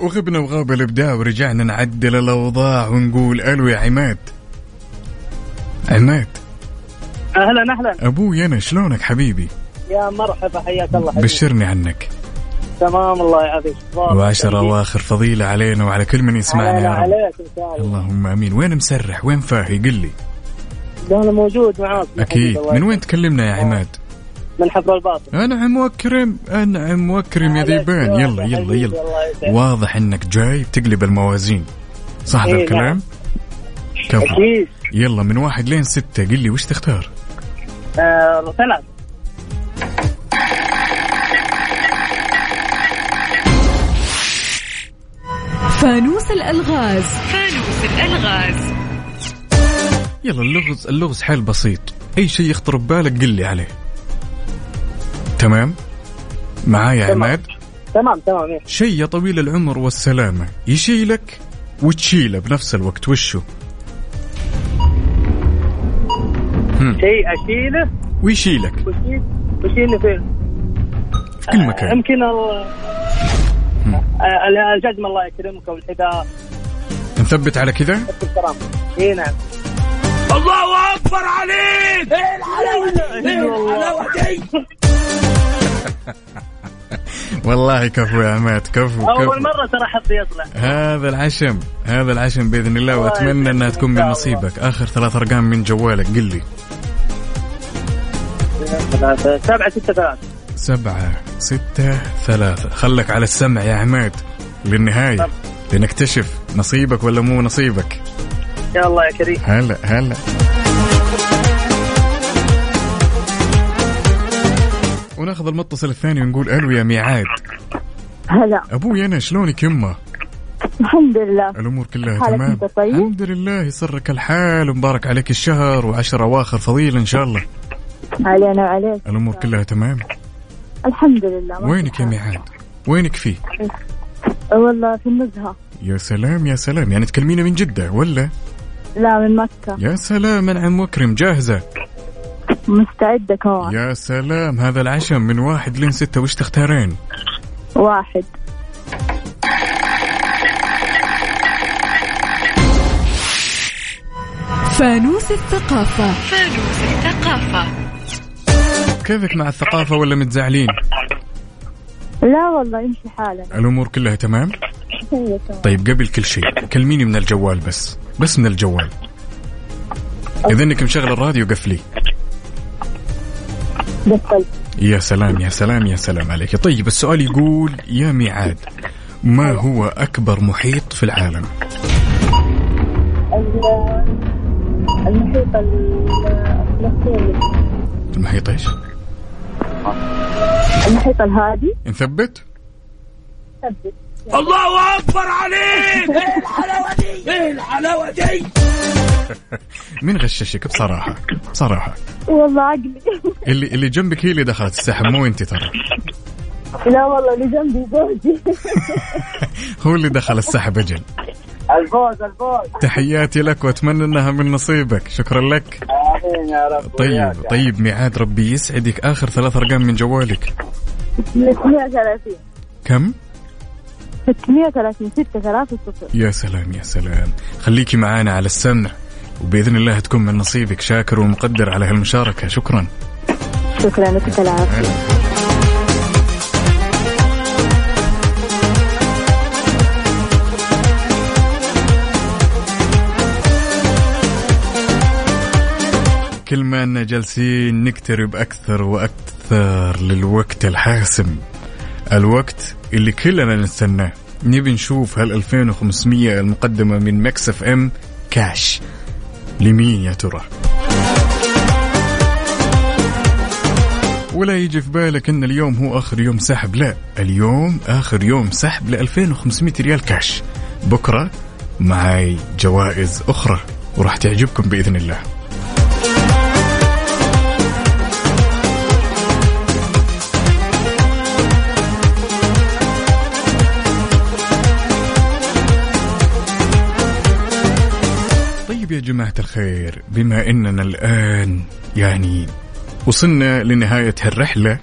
وغبنا وغاب الابداع ورجعنا نعدل الاوضاع ونقول الو يا عماد عماد اهلا اهلا ابوي انا شلونك حبيبي يا مرحبا حياك الله حبيبي بشرني عنك تمام الله يعافيك وعشرة واخر فضيلة علينا وعلى كل من يسمعنا آه، علينا يا رب عليك ان شاء الله اللهم امين وين مسرح وين فاهي قل لي انا موجود معاك يا حبيبي، اكيد الله من يعافيك. وين تكلمنا يا عماد من حفر الباطن انعم واكرم انعم واكرم يا ذيبان يلا يلا يلا واضح انك جاي بتقلب الموازين صح ذا إيه، نعم. الكلام كفو اكيد يلا من واحد لين ستة قل لي وش تختار آه، ثلاث فانوس الألغاز فانوس الألغاز يلا اللغز اللغز حل بسيط اي شيء يخطر ببالك قل لي عليه تمام معايا يا تمام. عماد تمام تمام إيه. شيء يا طويل العمر والسلامة يشيلك وتشيله بنفس الوقت وشو؟ هم، شيء اشيله ويشيلك في واشيل واشيله فين؟ آه، كل مكان يمكن ال- آه، ال- الجزمه الله يكرمك والحذاء نثبت على كذا؟ الكرام اي نعم الله اكبر عليك ايه الحلاوه دي ايه الحلاوه دي والله كفو يا عماد كفو كفو اول مره ترى حظي يطلع هذا العشم هذا العشم باذن الله الله واتمنى انها تكون من نصيبك اخر ثلاث ارقام من جوالك قل لي ثلاثة سبعة ستة ثلاثة سبعة ستة ثلاثة خلك على السمع يا عماد للنهاية لنكتشف نصيبك ولا مو نصيبك يا الله يا كريم هلا هلا وناخذ المتصل الثاني ونقول الو يا ميعاد هلا ابوي انا شلونك يمه الحمد لله الامور كلها حالك تمام انت طيب؟ الحمد لله يسرك الحال ومبارك عليك الشهر وعشر اواخر فضيل ان شاء الله علينا وعليك الامور كلها تمام الحمد لله ما وينك يا ميعاد وينك فيه في- والله في النزهة يا سلام يا سلام يعني تكلمينا من جده ولا لا من مكة يا سلام من عم مكرم جاهزه مستعدة كمان يا سلام هذا العشم من واحد لين ستة وش تختارين واحد فانوس الثقافة فانوس الثقافة كيفك مع الثقافة ولا متزعلين لا والله يمشي حالك الأمور كلها تمام هي كمان. طيب قبل كل شيء كلميني من الجوال بس بس من الجوال إذا إنك مشغل الراديو قفلي بطل يا سلام يا سلام يا سلام عليك طيب السؤال يقول يا ميعاد ما هو أكبر محيط في العالم ال- المحيط ال- الفلسطيني المحيط إيش المحيط الهادي نثبت ثبت الله اكبر عليك ايه الحلاوه دي ايه الحلاوه دي مين غششك بصراحة بصراحة والله عقلي اللي اللي جنبك هي اللي دخلت السحب مو أنت ترى لا والله اللي جنبي زوجي هو اللي دخل السحب أجل الفوز الفوز تحياتي لك واتمنى انها من نصيبك شكرا لك امين يا رب طيب وياك. طيب ميعاد ربي يسعدك اخر ثلاث ارقام من جوالك 630 كم 630 630 يا سلام يا سلام خليكي معانا على السمع وباذن الله تكون من نصيبك شاكر ومقدر على هالمشاركه شكرا شكرا لك العافية كل ما أننا جالسين نقترب أكثر وأكثر للوقت الحاسم الوقت اللي كلنا نستناه نبي نشوف هال 2500 المقدمة من مكس اف ام كاش لمين يا ترى ولا يجي في بالك ان اليوم هو اخر يوم سحب لا اليوم اخر يوم سحب ل 2500 ريال كاش بكره معي جوائز اخرى وراح تعجبكم باذن الله طيب يا جماعة الخير بما أننا الآن يعني وصلنا لنهاية هالرحلة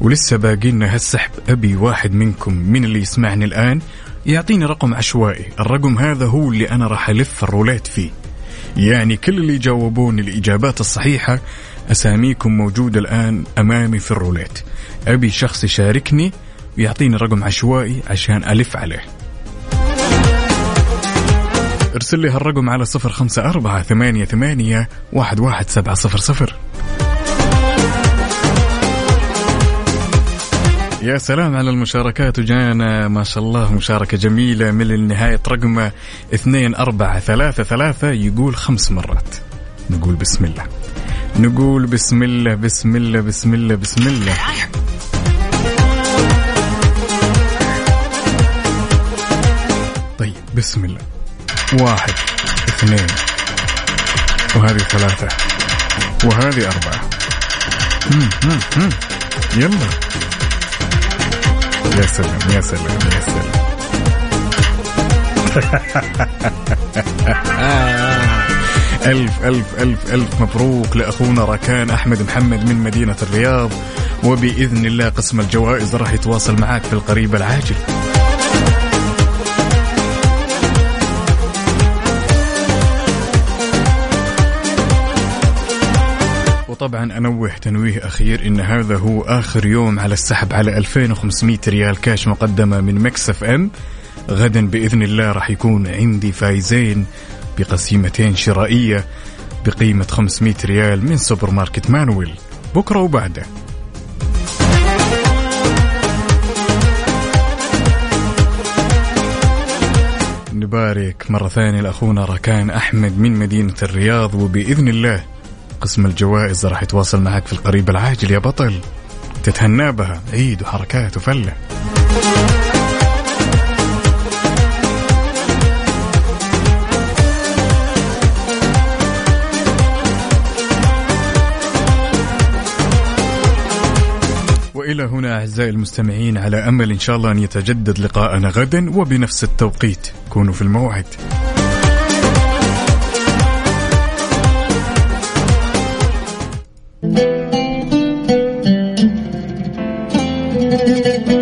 ولسه باقي لنا هالسحب أبي واحد منكم من اللي يسمعني الآن يعطيني رقم عشوائي الرقم هذا هو اللي أنا راح ألف الرولات فيه يعني كل اللي يجاوبون الإجابات الصحيحة أساميكم موجودة الآن أمامي في الرولات أبي شخص يشاركني ويعطيني رقم عشوائي عشان ألف عليه ارسل لي هالرقم على صفر خمسة أربعة ثمانية ثمانية واحد واحد سبعة صفر صفر يا سلام على المشاركات وجانا ما شاء الله مشاركة جميلة من النهاية رقم اثنين أربعة ثلاثة ثلاثة يقول خمس مرات نقول بسم الله نقول بسم الله بسم الله بسم الله بسم الله طيب بسم الله واحد اثنين وهذه ثلاثة وهذه أربعة مم، مم، مم. يلا يا سلام يا سلام يا سلام ألف ألف ألف ألف مبروك لأخونا ركان أحمد محمد من مدينة الرياض وبإذن الله قسم الجوائز راح يتواصل معك في القريب العاجل وطبعا انوه تنويه اخير ان هذا هو اخر يوم على السحب على 2500 ريال كاش مقدمه من مكسف ام غدا باذن الله راح يكون عندي فايزين بقسيمتين شرائيه بقيمه 500 ريال من سوبر ماركت مانويل بكره وبعده نبارك مرة ثانية لأخونا ركان أحمد من مدينة الرياض وبإذن الله قسم الجوائز راح يتواصل معك في القريب العاجل يا بطل تتهنى بها عيد وحركات وفلة وإلى هنا أعزائي المستمعين على أمل إن شاء الله أن يتجدد لقاءنا غدا وبنفس التوقيت كونوا في الموعد Thank you.